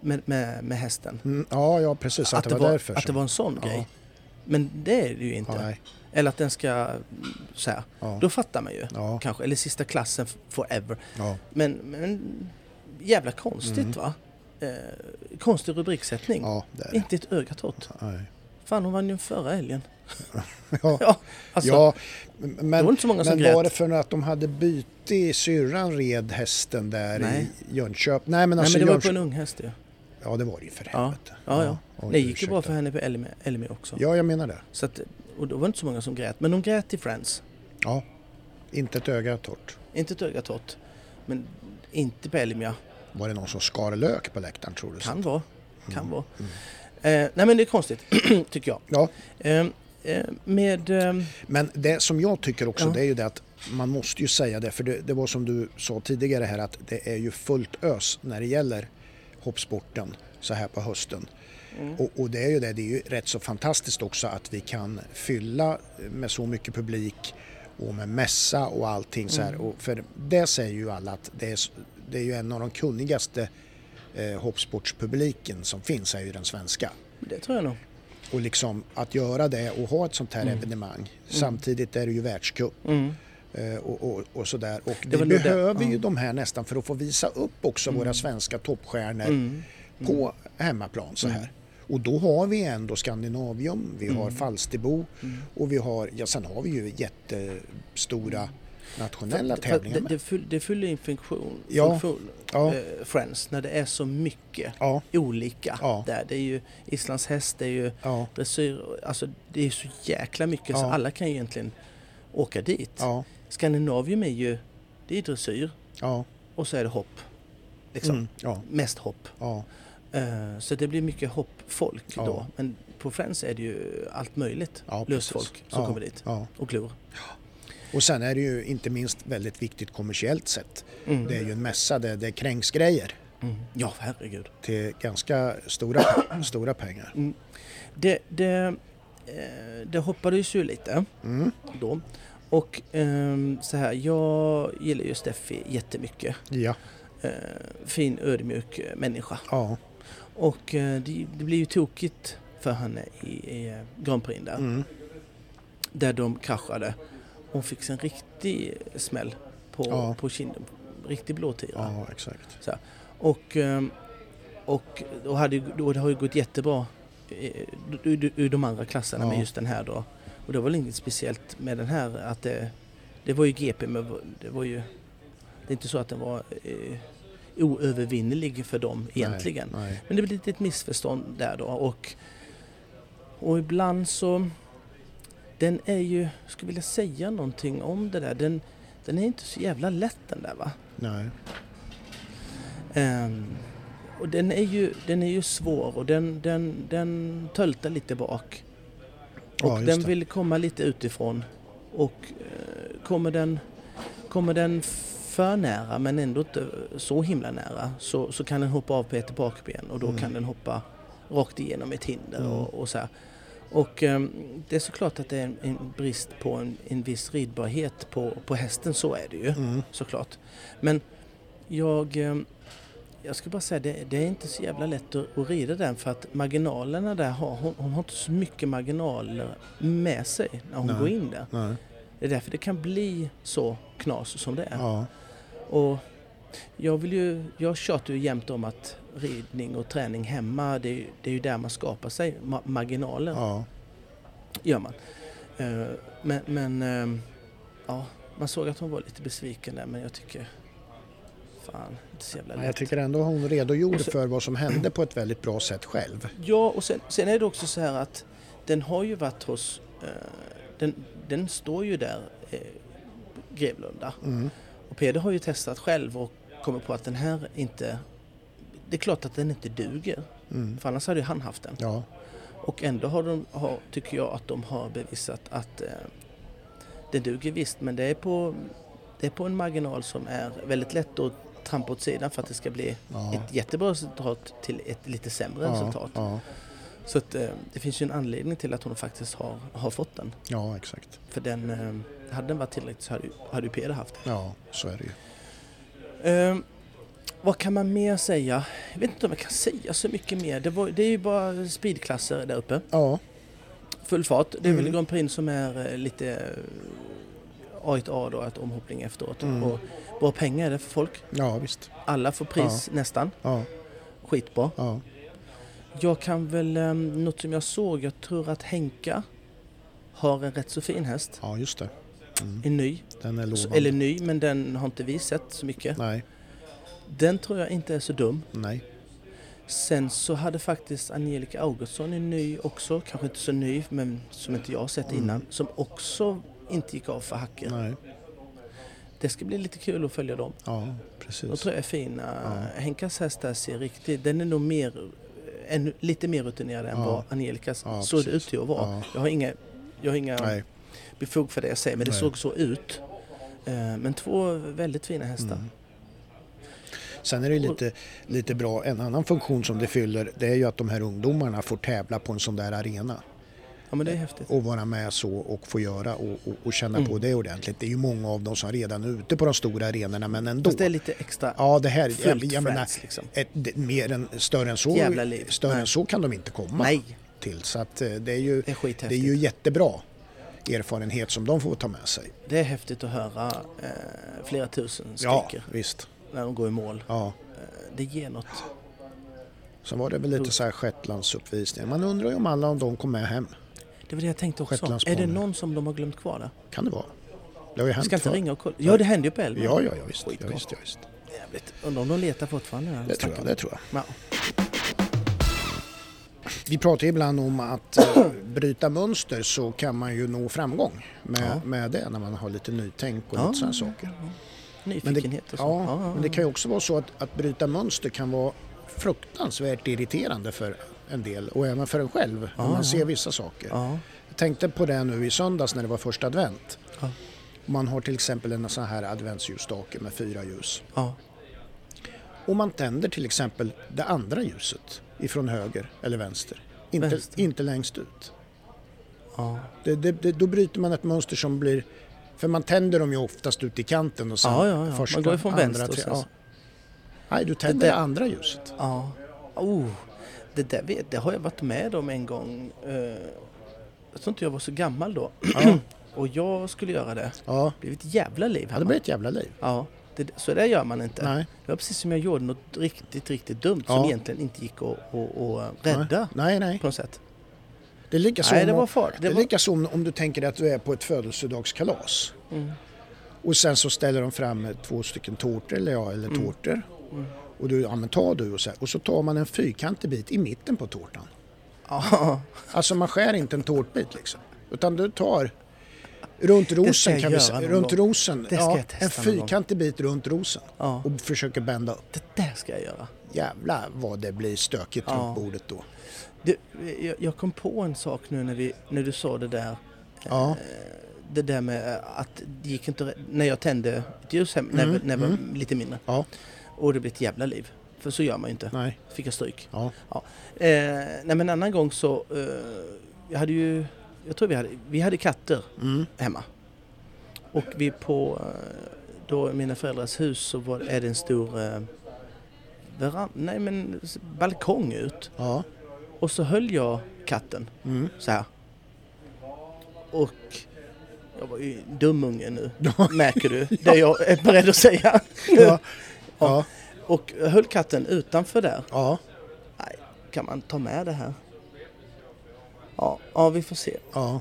Speaker 1: med, med, med hästen.
Speaker 2: Mm, ja, ja, precis. Att, det, var, därför.
Speaker 1: att det
Speaker 2: som-
Speaker 1: var en sån
Speaker 2: Ja.
Speaker 1: grej. Men det är det ju inte.
Speaker 2: ja, nej,
Speaker 1: Eller att den ska mm, så här.
Speaker 2: ja,
Speaker 1: Då fattar man ju.
Speaker 2: ja,
Speaker 1: Kanske. Eller sista klassen f- forever.
Speaker 2: ja,
Speaker 1: Men, men jävla konstigt
Speaker 2: Mm.
Speaker 1: va? Eh, konstig rubriksättning.
Speaker 2: ja, det är det.
Speaker 1: Inte ett öga torrt.
Speaker 2: Nej. [laughs]
Speaker 1: Fan hon vann ju förra helgen. [laughs]
Speaker 2: Ja,
Speaker 1: Ja, alltså,
Speaker 2: ja,
Speaker 1: det var
Speaker 2: men,
Speaker 1: inte så många som
Speaker 2: men var det
Speaker 1: grät.
Speaker 2: för att de hade byte syrran red hästen där
Speaker 1: Nej.
Speaker 2: i Jönköping? Nej, men
Speaker 1: Nej
Speaker 2: alltså
Speaker 1: men det var ju på en
Speaker 2: Jönköp-
Speaker 1: ung häst ju.
Speaker 2: Ja, det var det ju för
Speaker 1: Ja.
Speaker 2: helvete.
Speaker 1: Ja, ja.
Speaker 2: Oj,
Speaker 1: Det gick ju bra
Speaker 2: ursäkta.
Speaker 1: för henne på Elmi- Elmi också.
Speaker 2: Ja, jag menar det.
Speaker 1: Så att, och då var det inte så många som grät. Men de grät i Friends.
Speaker 2: Ja. Inte ett öga torrt.
Speaker 1: Inte ett öga torrt. Men inte på Elmia.
Speaker 2: Var det någon som skar lök på läktaren tror du?
Speaker 1: Kan vara. Kan
Speaker 2: Mm.
Speaker 1: vara. Eh, nej men det är konstigt, [clears throat] tycker jag.
Speaker 2: Ja,
Speaker 1: Eh, eh, med... ehm,
Speaker 2: Men det som jag tycker också
Speaker 1: Ja.
Speaker 2: det är ju det att man måste ju säga det för det, det var som du sa tidigare här att det är ju fullt ös när det gäller hoppsporten så här på hösten. Och, och det är ju det, det är ju rätt så fantastiskt också att vi kan fylla med så mycket publik och med mässa och allting så här. Och för det säger ju alla att det är, s- det är ju en av de kunnigaste eh, hoppsportspubliken som finns är ju den svenska.
Speaker 1: Det tror jag nog.
Speaker 2: Och liksom att göra det och ha ett sånt här
Speaker 1: Mm.
Speaker 2: evenemang. Samtidigt är det ju världscup. eh, Och, och, och sådär. Och vi
Speaker 1: var nog Mm. det- Mm.
Speaker 2: behöver ju
Speaker 1: ja.
Speaker 2: de här nästan för att få visa upp också våra svenska toppstjärnor
Speaker 1: Mm.
Speaker 2: på hemmaplan så här. Och då har vi ändå Skandinavium, vi
Speaker 1: Mm.
Speaker 2: har Falsterbo och vi har, ja sen har vi ju jättestora nationella
Speaker 1: Mm. För att
Speaker 2: tävlingar
Speaker 1: det,
Speaker 2: med.
Speaker 1: det, fyll, det fyller ju en funktion,
Speaker 2: Ja.
Speaker 1: funktion
Speaker 2: Ja.
Speaker 1: eh, Friends, när det är så mycket
Speaker 2: Ja,
Speaker 1: olika
Speaker 2: Ja.
Speaker 1: där. Det är ju Islands häst, det är ju
Speaker 2: ja,
Speaker 1: dressyr, alltså det är så jäkla mycket så
Speaker 2: Ja.
Speaker 1: alla kan ju egentligen åka dit.
Speaker 2: ja,
Speaker 1: Skandinavium är ju, det är dressyr
Speaker 2: ja,
Speaker 1: och så är det hopp. Liksom.
Speaker 2: mm, ja,
Speaker 1: Mest hopp.
Speaker 2: ja,
Speaker 1: Eh, Så det blir mycket hoppfolk
Speaker 2: Ja.
Speaker 1: då. Men på Friends är det ju allt möjligt
Speaker 2: Ja, precis.
Speaker 1: lustfolk som
Speaker 2: Ja,
Speaker 1: kommer dit
Speaker 2: ja.
Speaker 1: och glor.
Speaker 2: Och sen är det ju inte minst väldigt viktigt kommersiellt sett.
Speaker 1: Mm.
Speaker 2: Det är ju en mässa där det kränks grejer
Speaker 1: Mm. Ja, herregud.
Speaker 2: till ganska stora, [coughs] stora pengar.
Speaker 1: Det, det, eh, det hoppades ju lite
Speaker 2: Mm,
Speaker 1: då. Och ehm, så här, jag gillar ju Steffi jättemycket.
Speaker 2: ja,
Speaker 1: Eh, fin, ödmjuk eh, människa.
Speaker 2: ja,
Speaker 1: Och eh, det, det blir ju tokigt för henne i, i eh, Grand Prix där.
Speaker 2: mm,
Speaker 1: Där de kraschade. Hon fick en riktig smäll på,
Speaker 2: Ja.
Speaker 1: på kinden. Riktig blåtira.
Speaker 2: ja, exakt.
Speaker 1: Och, ehm, och då hade, ju- då, det har ju gått jättebra eh, ur, ur de andra klasserna
Speaker 2: Ja.
Speaker 1: med just den här då. Och det var väl inget speciellt med den här att det, det var ju GP men det var ju det är inte så att den var eh, oövervinnelig för dem egentligen.
Speaker 2: Nej, nej.
Speaker 1: Men det blir lite ett missförstånd där då och, och ibland så den är ju, skulle vilja säga någonting om det där, den, den är inte så jävla lätt den där va.
Speaker 2: Nej.
Speaker 1: Ehm, och den är, ju, den är ju svår och den, den, den töltar lite bak. Och
Speaker 2: Ja, just
Speaker 1: den
Speaker 2: det.
Speaker 1: vill komma lite utifrån. Och eh, kommer, den, kommer den för nära men ändå inte så himla nära så, så kan den hoppa av på ett bakben och då
Speaker 2: Mm.
Speaker 1: kan den hoppa rakt igenom ett hinder och, och så här. Och ehm, det är såklart att det är en, en brist på en, en viss ridbarhet på, på hästen, så är det ju
Speaker 2: Mm.
Speaker 1: såklart. Men jag, eh, jag ska bara säga det, det är inte så jävla lätt att, att rida den för att marginalerna där har hon, hon har inte så mycket marginaler med sig när hon
Speaker 2: Nej.
Speaker 1: går in där.
Speaker 2: Nej.
Speaker 1: Det är därför det kan bli så knas som det är.
Speaker 2: Ja.
Speaker 1: Och jag vill ju, jag tjatar ju jämt om att ridning och träning hemma, det är, ju- det är ju där man skapar sig ma- marginaler
Speaker 2: Ja.
Speaker 1: gör man. Eh, Men, men ehm, ja, man såg att hon var lite besviken där men jag tycker fan, inte så jävla
Speaker 2: Men
Speaker 1: lätt.
Speaker 2: jag tycker ändå hon redogjorde
Speaker 1: Och så-
Speaker 2: för vad som hände på ett väldigt bra sätt själv.
Speaker 1: Ja, och sen, sen är det också så här att den har ju varit hos, eh, den, den står ju där, eh, Grevlunda.
Speaker 2: Mm.
Speaker 1: Och Peder har ju testat själv och kommit på att den här inte, det är klart att den inte duger.
Speaker 2: Mm.
Speaker 1: För annars hade ju han haft den.
Speaker 2: Ja.
Speaker 1: Och ändå har de, har, tycker jag att de har bevisat att eh, det duger visst men det är, på, det är på en marginal som är väldigt lätt att trampa åt sidan för att det ska bli
Speaker 2: Ja.
Speaker 1: ett jättebra resultat till ett lite sämre
Speaker 2: Ja.
Speaker 1: resultat.
Speaker 2: Ja.
Speaker 1: Så att, eh, det finns ju en anledning till att hon faktiskt har, har fått den.
Speaker 2: ja, exakt.
Speaker 1: För den, eh, hade den varit tillräckligt så hade, ju- hade ju Peder haft den.
Speaker 2: Ja, så är det ju.
Speaker 1: Eh, vad kan man mer säga? Jag vet inte om jag kan säga så mycket mer. Det, var, det är ju bara speedklasser där uppe.
Speaker 2: Ja,
Speaker 1: full fart. Det är väl
Speaker 2: Mm.
Speaker 1: Grand Prix som är eh, lite eh, A1A då, ett omhoppning efteråt.
Speaker 2: Mm.
Speaker 1: Och bra pengar är det för folk.
Speaker 2: ja visst.
Speaker 1: Alla får pris nästan.
Speaker 2: Ja,
Speaker 1: Skitbra.
Speaker 2: ja.
Speaker 1: Jag kan väl, eh, något som jag såg, jag tror att Henka har en rätt så fin häst.
Speaker 2: ja just det. Mm.
Speaker 1: En ny.
Speaker 2: Den är
Speaker 1: Så,
Speaker 2: lovande.
Speaker 1: eller ny, men den har inte vi sett så mycket.
Speaker 2: Nej,
Speaker 1: Den tror jag inte är så dum.
Speaker 2: nej.
Speaker 1: Sen så hade faktiskt Angelica Augustsson en ny också, kanske inte så ny, men som inte jag har sett
Speaker 2: Mm.
Speaker 1: innan, som också inte gick av för hacker.
Speaker 2: Nej,
Speaker 1: Det ska bli lite kul att följa dem.
Speaker 2: ja,
Speaker 1: De
Speaker 2: precis.
Speaker 1: tror jag är fina.
Speaker 2: Ja.
Speaker 1: Henkas häst där ser riktigt... Den är nog mer, eh, ännu, lite mer rutinerad än
Speaker 2: Ja.
Speaker 1: vad Angelicas
Speaker 2: Ja,
Speaker 1: såg det
Speaker 2: precis.
Speaker 1: ut till att vara.
Speaker 2: Ja.
Speaker 1: Jag har inga, jag har inga
Speaker 2: Nej,
Speaker 1: befog för det jag säger, men det
Speaker 2: Nej.
Speaker 1: såg så ut. Eh, Men två väldigt fina hästar.
Speaker 2: Mm. sen är det lite, lite bra. En annan funktion som det fyller det är ju att de här ungdomarna får tävla på en sån där arena.
Speaker 1: Ja, men det är häftigt.
Speaker 2: och vara med så och få göra och, och, och känna
Speaker 1: Mm.
Speaker 2: på det ordentligt. Det är ju många av dem som redan är ute på de stora arenorna men ändå.
Speaker 1: Fast det är lite extra...
Speaker 2: Ja, det här
Speaker 1: Fullt
Speaker 2: jag, jag menar,
Speaker 1: friends, liksom.
Speaker 2: ett, det, mer än, större än så,
Speaker 1: Jävla liv.
Speaker 2: större
Speaker 1: Nej.
Speaker 2: än så kan de inte komma
Speaker 1: Nej.
Speaker 2: till. Så att eh, det är ju,
Speaker 1: Det är skithäftigt.
Speaker 2: det är ju jättebra erfarenhet som de får ta med sig.
Speaker 1: Det är häftigt att höra eh, flera tusen
Speaker 2: Ja,
Speaker 1: skriker
Speaker 2: visst.
Speaker 1: när de går i mål.
Speaker 2: Ja.
Speaker 1: Det ger något.
Speaker 2: Sen var det väl
Speaker 1: Mm.
Speaker 2: lite så här Shetlandsuppvisningar. Man undrar ju om alla av dem kom med hem.
Speaker 1: Det var det jag tänkte också. Är
Speaker 2: Shetlandsbanan.
Speaker 1: det någon som de har glömt kvar där?
Speaker 2: Kan det vara? Det har ju
Speaker 1: Jag
Speaker 2: hänt
Speaker 1: ska inte
Speaker 2: förr.
Speaker 1: ringa och kolla. Ja, det hände ju på Elmen.
Speaker 2: Ja, ja, ja visst. Ja,
Speaker 1: Skitbra.
Speaker 2: visst, ja, visst.
Speaker 1: Jävligt. Undrar om de letar fortfarande. när de
Speaker 2: Det tror
Speaker 1: snackar.
Speaker 2: jag, det tror jag.
Speaker 1: Ja.
Speaker 2: Vi pratar ju ibland om
Speaker 1: [clears throat]
Speaker 2: att eh, bryta mönster så kan man ju nå framgång med,
Speaker 1: Ja.
Speaker 2: med det när man har lite nytänk och
Speaker 1: Ja.
Speaker 2: lite sådana saker. Men det,
Speaker 1: Nyfikenhet och så.
Speaker 2: ja,
Speaker 1: ja,
Speaker 2: men det kan ju också vara så att, att bryta mönster kan vara fruktansvärt irriterande för en del och även för en själv när man ser vissa saker.
Speaker 1: ja.
Speaker 2: Jag tänkte på det nu i söndags när det var första advent.
Speaker 1: Ja.
Speaker 2: Man har till exempel en sån här adventsljusstake med fyra ljus.
Speaker 1: ja.
Speaker 2: Och man tänder till exempel det andra ljuset ifrån höger eller vänster. Inte,
Speaker 1: Vänster.
Speaker 2: inte längst ut.
Speaker 1: ja.
Speaker 2: Det, det, det, då bryter man ett mönster som blir... För man tänder dem ju oftast ut i kanten och sen
Speaker 1: Ja, ja, ja.
Speaker 2: första,
Speaker 1: Man går ju från
Speaker 2: andra,
Speaker 1: vänster och
Speaker 2: tre-
Speaker 1: sen
Speaker 2: ja.
Speaker 1: så-
Speaker 2: Nej, du tänder
Speaker 1: Det
Speaker 2: det,
Speaker 1: där-
Speaker 2: andra ljuset.
Speaker 1: Ja. Oh, det där vet, det har jag varit med om en gång. Eh, jag tror inte jag var så gammal då. [clears throat] och jag skulle göra det.
Speaker 2: Ja,
Speaker 1: Det blev ett jävla liv
Speaker 2: ja
Speaker 1: hemma.
Speaker 2: det blir ett jävla liv.
Speaker 1: Ja, det, så det gör man inte.
Speaker 2: Nej.
Speaker 1: Det var precis som jag gjorde något riktigt, riktigt dumt som
Speaker 2: Ja.
Speaker 1: egentligen inte gick att, att, att rädda
Speaker 2: Nej, nej.
Speaker 1: på något sätt.
Speaker 2: Det är lika som,
Speaker 1: Nej, det
Speaker 2: om-
Speaker 1: var fart.
Speaker 2: det
Speaker 1: Det
Speaker 2: är
Speaker 1: var-
Speaker 2: lika som om du tänker dig att du är på ett födelsedagskalas.
Speaker 1: Mm.
Speaker 2: Och sen så ställer de fram eh, två stycken tårtor eller ja, eller
Speaker 1: Mm.
Speaker 2: tårtor. Och du, ja men ta du och så här. Och så tar man en fyrkantig bit i mitten på tårtan.
Speaker 1: Ja,
Speaker 2: Alltså man skär inte en tårtbit liksom. Utan du tar runt rosen
Speaker 1: jag
Speaker 2: kan vi
Speaker 1: göra
Speaker 2: säga.
Speaker 1: någon
Speaker 2: Runt
Speaker 1: gång.
Speaker 2: rosen.
Speaker 1: Det ska jag testa
Speaker 2: en
Speaker 1: någon gång.
Speaker 2: fyrkantig bit runt rosen.
Speaker 1: Ja.
Speaker 2: Och försöker bända upp.
Speaker 1: det där ska jag göra.
Speaker 2: Jävlar vad det blir stökigt
Speaker 1: Ja.
Speaker 2: runt bordet då.
Speaker 1: Du, jag, jag kom på en sak nu när, vi, när du sa det där.
Speaker 2: Ja,
Speaker 1: Det där med eh, att det gick inte rä- När jag tände ett ljus hem,
Speaker 2: Mm,
Speaker 1: när, när jag var lite mindre.
Speaker 2: ja,
Speaker 1: Och det blev ett jävla liv. För så gör man ju inte.
Speaker 2: nej,
Speaker 1: Fick jag stryk.
Speaker 2: ja,
Speaker 1: Ja. Eh, nej men en annan gång så, eh, jag hade ju, jag tror vi hade, vi hade katter
Speaker 2: mm.
Speaker 1: hemma. Och vi på, eh, då i mina föräldrars hus så var, är det en stor eh, veran, nej men s- balkong ut.
Speaker 2: ja,
Speaker 1: Och så höll jag katten
Speaker 2: mm.
Speaker 1: så här. Och jag var ju en dum unge
Speaker 2: [laughs]
Speaker 1: nu, märker du. Det jag är beredd att säga.
Speaker 2: ja, ja,
Speaker 1: [laughs] Och jag höll katten utanför där.
Speaker 2: ja.
Speaker 1: Nej, kan man ta med det här? Ja, ja vi får se.
Speaker 2: ja.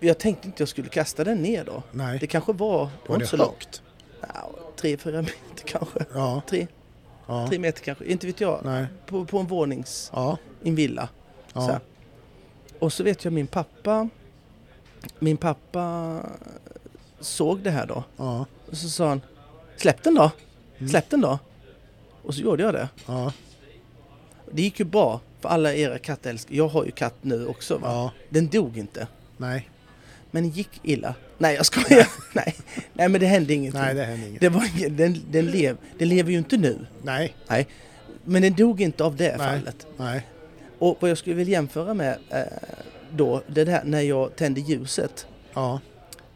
Speaker 1: Jag tänkte inte jag skulle kasta den ner då.
Speaker 2: Nej.
Speaker 1: Det kanske var...
Speaker 2: Var det
Speaker 1: inte så långt.
Speaker 2: högt?
Speaker 1: Ja, tre, fyra meter kanske.
Speaker 2: Ja,
Speaker 1: Tre,
Speaker 2: ja,
Speaker 1: tre meter kanske. Inte vet jag.
Speaker 2: nej,
Speaker 1: På, på en vånings...
Speaker 2: ja,
Speaker 1: i en villa. Så
Speaker 2: ja,
Speaker 1: här. Och så vet jag min pappa... Min pappa såg det här då.
Speaker 2: ja,
Speaker 1: Och så sa han Släpp den då!
Speaker 2: Mm.
Speaker 1: Släpp den då! Och så gjorde jag det.
Speaker 2: ja,
Speaker 1: Det gick ju bra för alla era kattälskare. Jag har ju katt nu också va?
Speaker 2: Ja.
Speaker 1: Den dog inte.
Speaker 2: nej,
Speaker 1: Men det gick illa. Nej jag skojar. [laughs] Nej. Nej men det hände ingenting.
Speaker 2: nej, det hände inget.
Speaker 1: Det var, ingen- den, den, lev, den lever ju inte nu.
Speaker 2: Nej,
Speaker 1: Nej. Men den dog inte av det
Speaker 2: nej,
Speaker 1: fallet.
Speaker 2: nej,
Speaker 1: Och vad jag skulle vilja jämföra med eh, då, det där när jag tände ljuset.
Speaker 2: ja,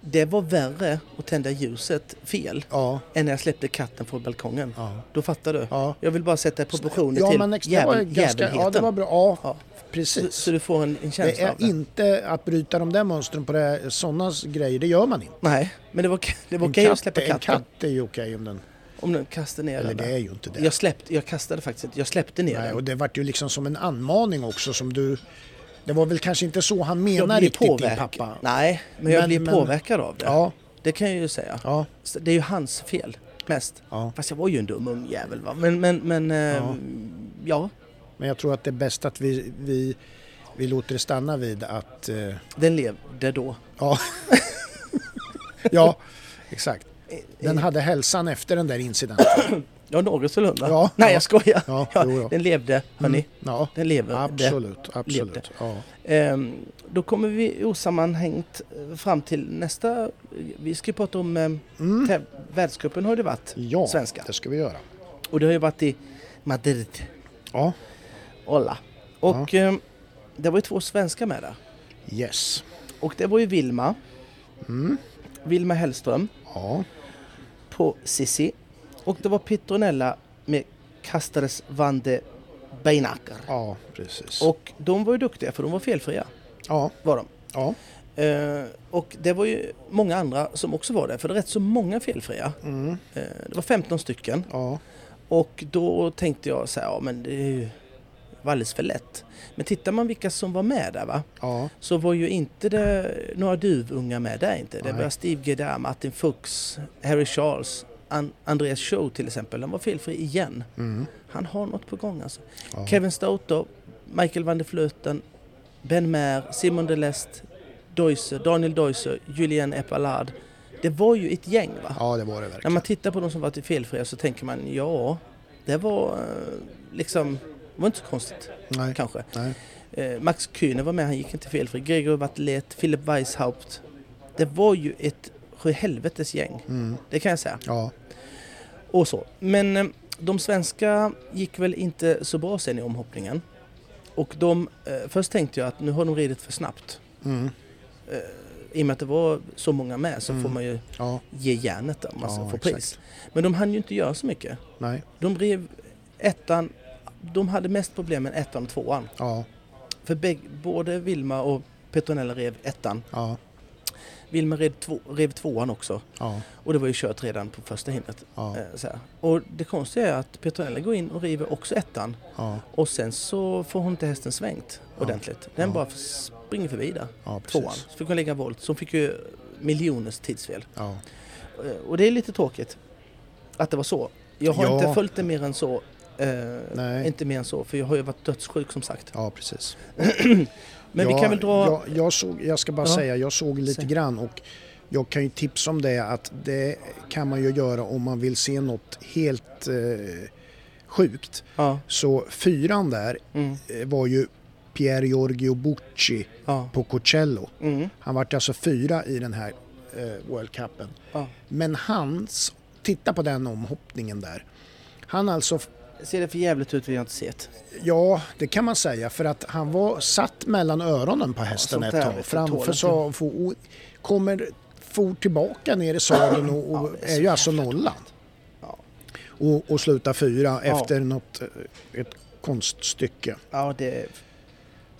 Speaker 1: Det var värre att tända ljuset fel
Speaker 2: ja,
Speaker 1: än när jag släppte katten från balkongen.
Speaker 2: ja.
Speaker 1: Då fattar du?
Speaker 2: Ja.
Speaker 1: Jag vill bara sätta proportioner
Speaker 2: Ja,
Speaker 1: till
Speaker 2: men det var
Speaker 1: jävel-
Speaker 2: ganska, ja, det var bra. Ja,
Speaker 1: Ja. Så,
Speaker 2: precis.
Speaker 1: så du får en, en
Speaker 2: Det
Speaker 1: känsla av
Speaker 2: är
Speaker 1: det.
Speaker 2: inte att bryta de där mönstren på det- sådana grejer, det gör man inte.
Speaker 1: Nej, men det var, det var
Speaker 2: En
Speaker 1: okej att
Speaker 2: katt,
Speaker 1: släppa
Speaker 2: en
Speaker 1: katten.
Speaker 2: katt är ju okej om den...
Speaker 1: Om den kastar ner
Speaker 2: Eller
Speaker 1: den. där.
Speaker 2: det är ju inte det.
Speaker 1: Jag, släppte, jag kastade faktiskt inte, jag släppte ner
Speaker 2: Nej,
Speaker 1: den.
Speaker 2: och det vart ju liksom som en anmaning också som du... Det var väl kanske inte så han menar
Speaker 1: blir
Speaker 2: riktigt din
Speaker 1: påverkad.
Speaker 2: pappa.
Speaker 1: Nej, men jag
Speaker 2: Men-
Speaker 1: blir
Speaker 2: men-
Speaker 1: påverkad av det.
Speaker 2: Ja,
Speaker 1: Det kan jag ju säga.
Speaker 2: ja,
Speaker 1: Så Det är ju hans fel mest.
Speaker 2: ja.
Speaker 1: Fast jag var ju en dum ung jävel va. Men, men, men... Ja. ja.
Speaker 2: Men jag tror att det är bäst att vi, vi, vi låter det stanna vid att... Eh,
Speaker 1: Den levde då.
Speaker 2: ja. [laughs] ja, exakt.
Speaker 1: Eh,
Speaker 2: Den hade hälsan efter den där incidenten.
Speaker 1: Ja, någorlunda.
Speaker 2: Ja,
Speaker 1: Nej,
Speaker 2: ja.
Speaker 1: jag skojar.
Speaker 2: Ja,
Speaker 1: Ja,
Speaker 2: jo, ja.
Speaker 1: den levde, hörni.
Speaker 2: Ja,
Speaker 1: Den lever.
Speaker 2: absolut. absolut.
Speaker 1: levde.
Speaker 2: Ja,
Speaker 1: Ehm, då kommer vi osammanhängt eh, fram till nästa. Vi ska ju prata om... ehm, täv- Världscupen har det varit.
Speaker 2: Mm. ja
Speaker 1: Svenska.
Speaker 2: det ska vi göra.
Speaker 1: Och det har ju varit i Madrid.
Speaker 2: Ja,
Speaker 1: Olla. Och ehm, det var ju två svenskar med där.
Speaker 2: Yes.
Speaker 1: Och det var ju Vilma,
Speaker 2: Mm.
Speaker 1: Vilma Hellström
Speaker 2: Ja.
Speaker 1: på Sissi. Och det var Petronella med Casters van de Beinacker.
Speaker 2: Ja, precis.
Speaker 1: Och de var ju duktiga för de var felfria.
Speaker 2: Ja.
Speaker 1: Var de.
Speaker 2: Ja.
Speaker 1: Eh, och det var ju många andra som också var där, för det är rätt så många felfria.
Speaker 2: Mm.
Speaker 1: Eh, det var 15 stycken.
Speaker 2: Ja.
Speaker 1: Och då tänkte jag så här, ja men det är ju det var alldeles för lätt. Men tittar man vilka som var med där va,
Speaker 2: Ja.
Speaker 1: så var ju inte det några duvunga med där inte. Det
Speaker 2: Nej.
Speaker 1: var Steve Gedam, Martin Fuchs, Harry Charles, An- Andreas Show till exempel. Han var felfri igen.
Speaker 2: Mm.
Speaker 1: Han har något på gång alltså.
Speaker 2: Ja.
Speaker 1: Kevin Stoughton, Michael van der Flöten, Ben Mair, Simon Delest, Deuser, Daniel Deuser, Julien Epalard. Det var ju ett gäng va?
Speaker 2: ja, det var det
Speaker 1: När
Speaker 2: verkligen.
Speaker 1: man tittar på de som varit felfria så tänker man ja, det var eh, liksom, det var inte så konstigt
Speaker 2: Nej.
Speaker 1: kanske.
Speaker 2: Nej.
Speaker 1: Eh, Max Kühne var med, han gick inte felfri. Gregor Wattlet, Philip Weishaupt. Det var ju ett sjuhelvetes gäng,
Speaker 2: Mm.
Speaker 1: det kan jag säga.
Speaker 2: Ja.
Speaker 1: Och så. Men eh, de svenska gick väl inte så bra sen i omhoppningen. Och de, eh, först tänkte jag att nu har de ridit för snabbt.
Speaker 2: Mm.
Speaker 1: I och med att det var så många med så
Speaker 2: Mm.
Speaker 1: får man ju
Speaker 2: Ja.
Speaker 1: ge järnet om man ska
Speaker 2: Ja,
Speaker 1: få
Speaker 2: exakt.
Speaker 1: pris. Men de hann ju inte göra så mycket.
Speaker 2: Nej.
Speaker 1: De drev ettan, de hade mest problem med ettan och tvåan.
Speaker 2: Ja.
Speaker 1: För bägge, både Vilma och Petronella rev ettan.
Speaker 2: Ja.
Speaker 1: Vilma rev, två, rev tvåan också.
Speaker 2: Ja.
Speaker 1: Och det var ju kört redan på första hindret.
Speaker 2: Ja.
Speaker 1: Eh, Så här. Och det konstiga är att Petronella går in och river också ettan.
Speaker 2: Ja.
Speaker 1: Och sen så får hon inte hästen svängt ordentligt. Den
Speaker 2: Ja.
Speaker 1: bara springer förbi där.
Speaker 2: Ja, precis.
Speaker 1: Tvåan. Så fick hon lägga volt. Så hon fick ju miljoners tidsfel.
Speaker 2: Ja.
Speaker 1: Eh, Och det är lite tråkigt att det var så. Jag har
Speaker 2: Ja.
Speaker 1: inte följt det mer än så. Eh,
Speaker 2: Nej.
Speaker 1: Inte mer än så, för jag har ju varit dödssjuk som sagt.
Speaker 2: Ja, precis.
Speaker 1: Men
Speaker 2: jag,
Speaker 1: vi kan väl dra...
Speaker 2: Jag, jag, såg, jag ska bara
Speaker 1: Ja.
Speaker 2: säga, jag såg lite
Speaker 1: Säg.
Speaker 2: grann och jag kan ju tipsa om det att det kan man ju göra om man vill se något helt eh, sjukt.
Speaker 1: Ja,
Speaker 2: Så fyran där
Speaker 1: mm,
Speaker 2: eh, var ju Pier Giorgio Bucci
Speaker 1: ja,
Speaker 2: på Cocello.
Speaker 1: mm,
Speaker 2: Han vart alltså fyra i den här eh, World Cupen.
Speaker 1: ja.
Speaker 2: Men hans, titta på den omhoppningen där. Han alltså
Speaker 1: Ser det för jävligt ut vill jag inte se det.
Speaker 2: Ja, det kan man säga för att han var satt mellan öronen på hästen
Speaker 1: sånt där
Speaker 2: ett tag.
Speaker 1: vet du,
Speaker 2: Framför
Speaker 1: tål
Speaker 2: så for, och kommer for tillbaka ner i sadeln och, och
Speaker 1: Ja, det är
Speaker 2: är,
Speaker 1: så
Speaker 2: ju alltså
Speaker 1: jävla
Speaker 2: nollan.
Speaker 1: Ja.
Speaker 2: Och, och slutar fyra
Speaker 1: Ja.
Speaker 2: efter något, eh, ett konststycke.
Speaker 1: Ja, det... Sånt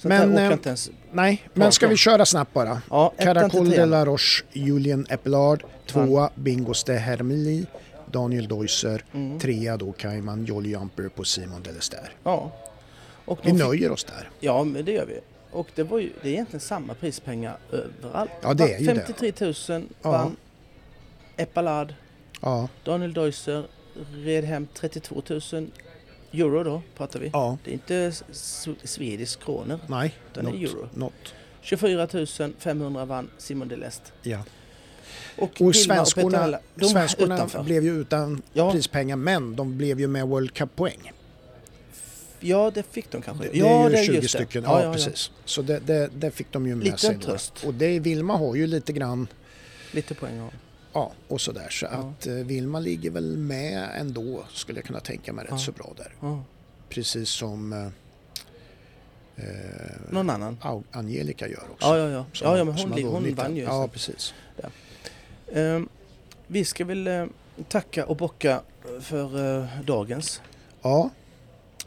Speaker 2: Men,
Speaker 1: men, där orkar
Speaker 2: eh,
Speaker 1: jag inte ens...
Speaker 2: Nej, men ska vi köra snabbt bara?
Speaker 1: Ja, ettan
Speaker 2: Caracol
Speaker 1: till
Speaker 2: de
Speaker 1: trean.
Speaker 2: la Roche, Julien Eppelard, tvåa Bingos de Hermili, Daniel Deuser,
Speaker 1: Mm.
Speaker 2: trea då Cayman Jolly Jumper på Simon Delester.
Speaker 1: Ja. Och
Speaker 2: Vi
Speaker 1: de fick,
Speaker 2: nöjer oss där.
Speaker 1: ja, men det gör vi. Och det var ju... Det är egentligen samma prispengar överallt.
Speaker 2: Ja, det är ju det.
Speaker 1: 53 000
Speaker 2: Ja.
Speaker 1: vann Eppalad.
Speaker 2: Ja,
Speaker 1: Daniel Deuser red hem 32 000 euro då, pratar vi.
Speaker 2: ja.
Speaker 1: Det är inte s- swedisk kronor.
Speaker 2: Nej,
Speaker 1: Den är euro.
Speaker 2: något.
Speaker 1: 24 500 vann Simon Delest.
Speaker 2: Ja.
Speaker 1: Och, Vilma
Speaker 2: Och svenskorna,
Speaker 1: Petronella, de var
Speaker 2: svenskorna
Speaker 1: utanför.
Speaker 2: blev ju utan
Speaker 1: Ja.
Speaker 2: prispengar men de blev ju med World Cup-poäng.
Speaker 1: Ja, det fick de kanske.
Speaker 2: Det,
Speaker 1: ja,
Speaker 2: det är ju 20
Speaker 1: just det.
Speaker 2: stycken. Ja, precis. Så det, det, det fick de ju med
Speaker 1: Liten
Speaker 2: sig. då.
Speaker 1: tröst.
Speaker 2: Och det, Vilma har ju lite grann
Speaker 1: Lite poäng har
Speaker 2: Ja, och sådär. Så
Speaker 1: Ja.
Speaker 2: att eh, Vilma ligger väl med ändå, skulle jag kunna tänka mig, rätt
Speaker 1: Ja.
Speaker 2: så bra där.
Speaker 1: ja.
Speaker 2: Precis som eh, eh,
Speaker 1: Någon annan.
Speaker 2: Au- Angelica gör också.
Speaker 1: Ja, ja, ja.
Speaker 2: Som-
Speaker 1: ja, ja men
Speaker 2: som
Speaker 1: hon,
Speaker 2: har
Speaker 1: lig- hon
Speaker 2: vunnit
Speaker 1: vann
Speaker 2: den.
Speaker 1: ju.
Speaker 2: Ja,
Speaker 1: Ja.
Speaker 2: precis.
Speaker 1: vi ska väl eh, tacka och bocka för eh, dagens.
Speaker 2: Ja,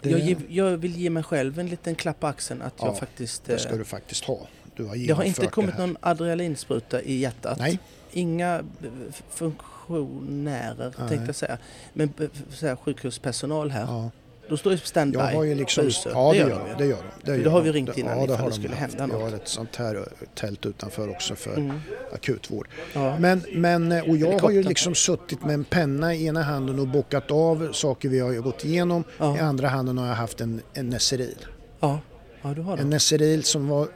Speaker 2: det,
Speaker 1: Jag, ge, jag vill ge mig själv en liten klapp på axeln att
Speaker 2: Ja,
Speaker 1: jag faktiskt...
Speaker 2: det
Speaker 1: eh,
Speaker 2: ska du faktiskt ha. Du har
Speaker 1: det har inte
Speaker 2: genomfört
Speaker 1: kommit
Speaker 2: det här.
Speaker 1: någon adrenalinspruta i hjärtat.
Speaker 2: Nej.
Speaker 1: Inga b- b- funktionärer
Speaker 2: Nej.
Speaker 1: tänkte jag säga. Men b- f- så här, sjukhuspersonal här.
Speaker 2: Ja.
Speaker 1: De står ju på standby.
Speaker 2: Jag har ju liksom...
Speaker 1: Buser.
Speaker 2: Ja, det
Speaker 1: gör de
Speaker 2: gör de.
Speaker 1: ju.
Speaker 2: Det gör de. Det
Speaker 1: då
Speaker 2: gör
Speaker 1: har
Speaker 2: de.
Speaker 1: vi ringt innan
Speaker 2: det
Speaker 1: ifall
Speaker 2: har
Speaker 1: det
Speaker 2: de
Speaker 1: skulle
Speaker 2: haft.
Speaker 1: hända
Speaker 2: Jag
Speaker 1: något.
Speaker 2: har ett sånt här eh, tält utanför också för
Speaker 1: Mm.
Speaker 2: akutvård.
Speaker 1: Ja.
Speaker 2: Men, men, eh, och jag har ju
Speaker 1: Helikoptern.
Speaker 2: liksom suttit med en penna i ena handen och bockat av saker vi har ju gått igenom.
Speaker 1: Ja.
Speaker 2: I andra handen har jag haft en, en Nesseril.
Speaker 1: Ja. ja, du har
Speaker 2: En
Speaker 1: det.
Speaker 2: Nesseril som var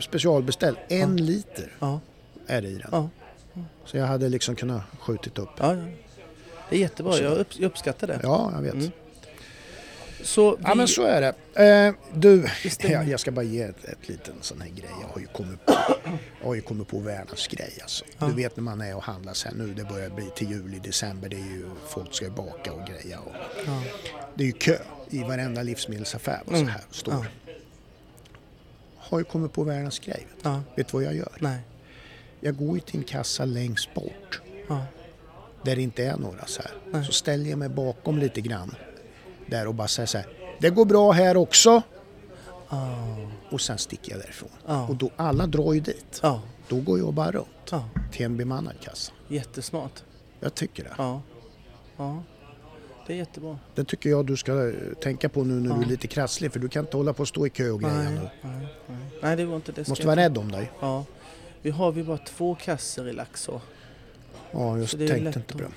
Speaker 2: specialbeställd. En liter
Speaker 1: Ja.
Speaker 2: är det i den.
Speaker 1: Ja.
Speaker 2: Så jag hade liksom kunnat skjutit upp.
Speaker 1: Ja, ja. Det är jättebra, jag, upp, jag uppskattar det.
Speaker 2: Ja, jag vet.
Speaker 1: Mm. Så vi,
Speaker 2: Ja men så är det. Eh, du,
Speaker 1: Vi stänger.
Speaker 2: jag, jag ska bara ge ett, ett liten sån här grej. Jag har ju kommit på, jag har ju kommit på världens grej alltså.
Speaker 1: Ja.
Speaker 2: Du vet när man är och handlar sen nu, det börjar bli till juli, december, det är ju folk ska ju baka och greja och
Speaker 1: ja. Mm.
Speaker 2: det är ju kö i varenda livsmedelsaffär vad så här står. har ju kommit på världens grej.
Speaker 1: Ja.
Speaker 2: Vet du vad jag gör?
Speaker 1: Nej.
Speaker 2: Jag går ju till en kassa längst bort
Speaker 1: Ja.
Speaker 2: där det inte är några så här. Så ställer jag mig bakom lite grann där och bara säger så här. Det går bra här också.
Speaker 1: Ah.
Speaker 2: Och sen sticker jag därifrån.
Speaker 1: Ja.
Speaker 2: Och då alla drar ju dit.
Speaker 1: Ja.
Speaker 2: Då går jag bara runt
Speaker 1: ja.
Speaker 2: till en bemannad kassa.
Speaker 1: Jättesmart.
Speaker 2: Jag tycker det.
Speaker 1: Ja. Ja. Det är jättebra.
Speaker 2: Det tycker jag du ska eh, tänka på nu när du är lite krasslig för du kan inte hålla på och stå i kö och grejer nu.
Speaker 1: Ah. nej, nej. nej det går inte. Det ska
Speaker 2: Måste
Speaker 1: jag
Speaker 2: vara
Speaker 1: inte-
Speaker 2: rädd om dig.
Speaker 1: Ja. Vi har ju bara två kassor i Laxå.
Speaker 2: Ja, jag
Speaker 1: Så det är lätt
Speaker 2: tänkte inte
Speaker 1: att-
Speaker 2: på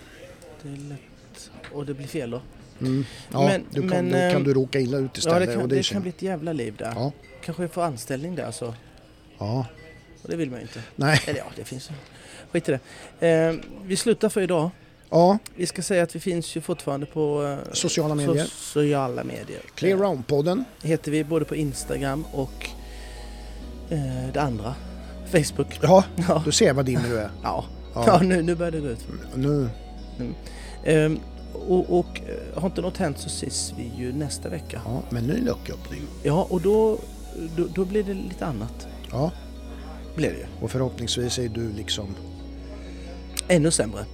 Speaker 2: det.
Speaker 1: Det är lätt. Och det blir fel då.
Speaker 2: Mm. Ja,
Speaker 1: Men-
Speaker 2: du kan,
Speaker 1: men,
Speaker 2: då
Speaker 1: ehm,
Speaker 2: kan du råka illa ut
Speaker 1: Ja,
Speaker 2: istället.
Speaker 1: det kan,
Speaker 2: och det,
Speaker 1: det
Speaker 2: känner-
Speaker 1: kan bli ett jävla liv där.
Speaker 2: Ja,
Speaker 1: Kanske få anställning där så.
Speaker 2: ja.
Speaker 1: Och det vill man ju inte.
Speaker 2: Nej.
Speaker 1: Eller ja, det finns ju. Skit i det. Eh, vi slutar för idag.
Speaker 2: Ja,
Speaker 1: Vi ska säga att vi finns ju fortfarande på eh,
Speaker 2: Sociala medier.
Speaker 1: sociala medier.
Speaker 2: Clear Round-podden.
Speaker 1: Heter vi både på Instagram och eh, det andra. Facebook.
Speaker 2: Ja,
Speaker 1: Ja.
Speaker 2: du ser vad dimmer du är.
Speaker 1: Ja,
Speaker 2: Ja.
Speaker 1: ja Mm. nu, nu börjar det gå ut.
Speaker 2: Nu,
Speaker 1: Ehm, och, och eh, har inte något hänt så ses vi ju nästa vecka.
Speaker 2: ja, men ny lucköppning.
Speaker 1: Ja, och då, då, då blir det lite annat.
Speaker 2: Ja,
Speaker 1: Blir det ju.
Speaker 2: och förhoppningsvis är du liksom...
Speaker 1: Ännu sämre.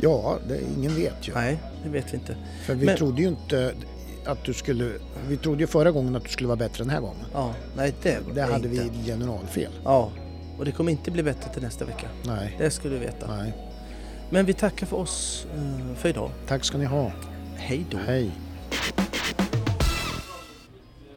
Speaker 2: Ja, det, ingen vet ju.
Speaker 1: Nej, det vet vi inte.
Speaker 2: För vi
Speaker 1: Men-
Speaker 2: trodde ju inte att du skulle... Vi trodde ju förra gången att du skulle vara bättre den här gången.
Speaker 1: Ja, nej, det var
Speaker 2: Det hade
Speaker 1: inte.
Speaker 2: vi generalfel.
Speaker 1: Ja, och det kommer inte bli bättre till nästa vecka.
Speaker 2: Nej,
Speaker 1: Det ska du veta.
Speaker 2: nej.
Speaker 1: Men vi tackar för oss eh, för idag.
Speaker 2: Tack ska ni ha.
Speaker 1: Hej då.
Speaker 2: Hej.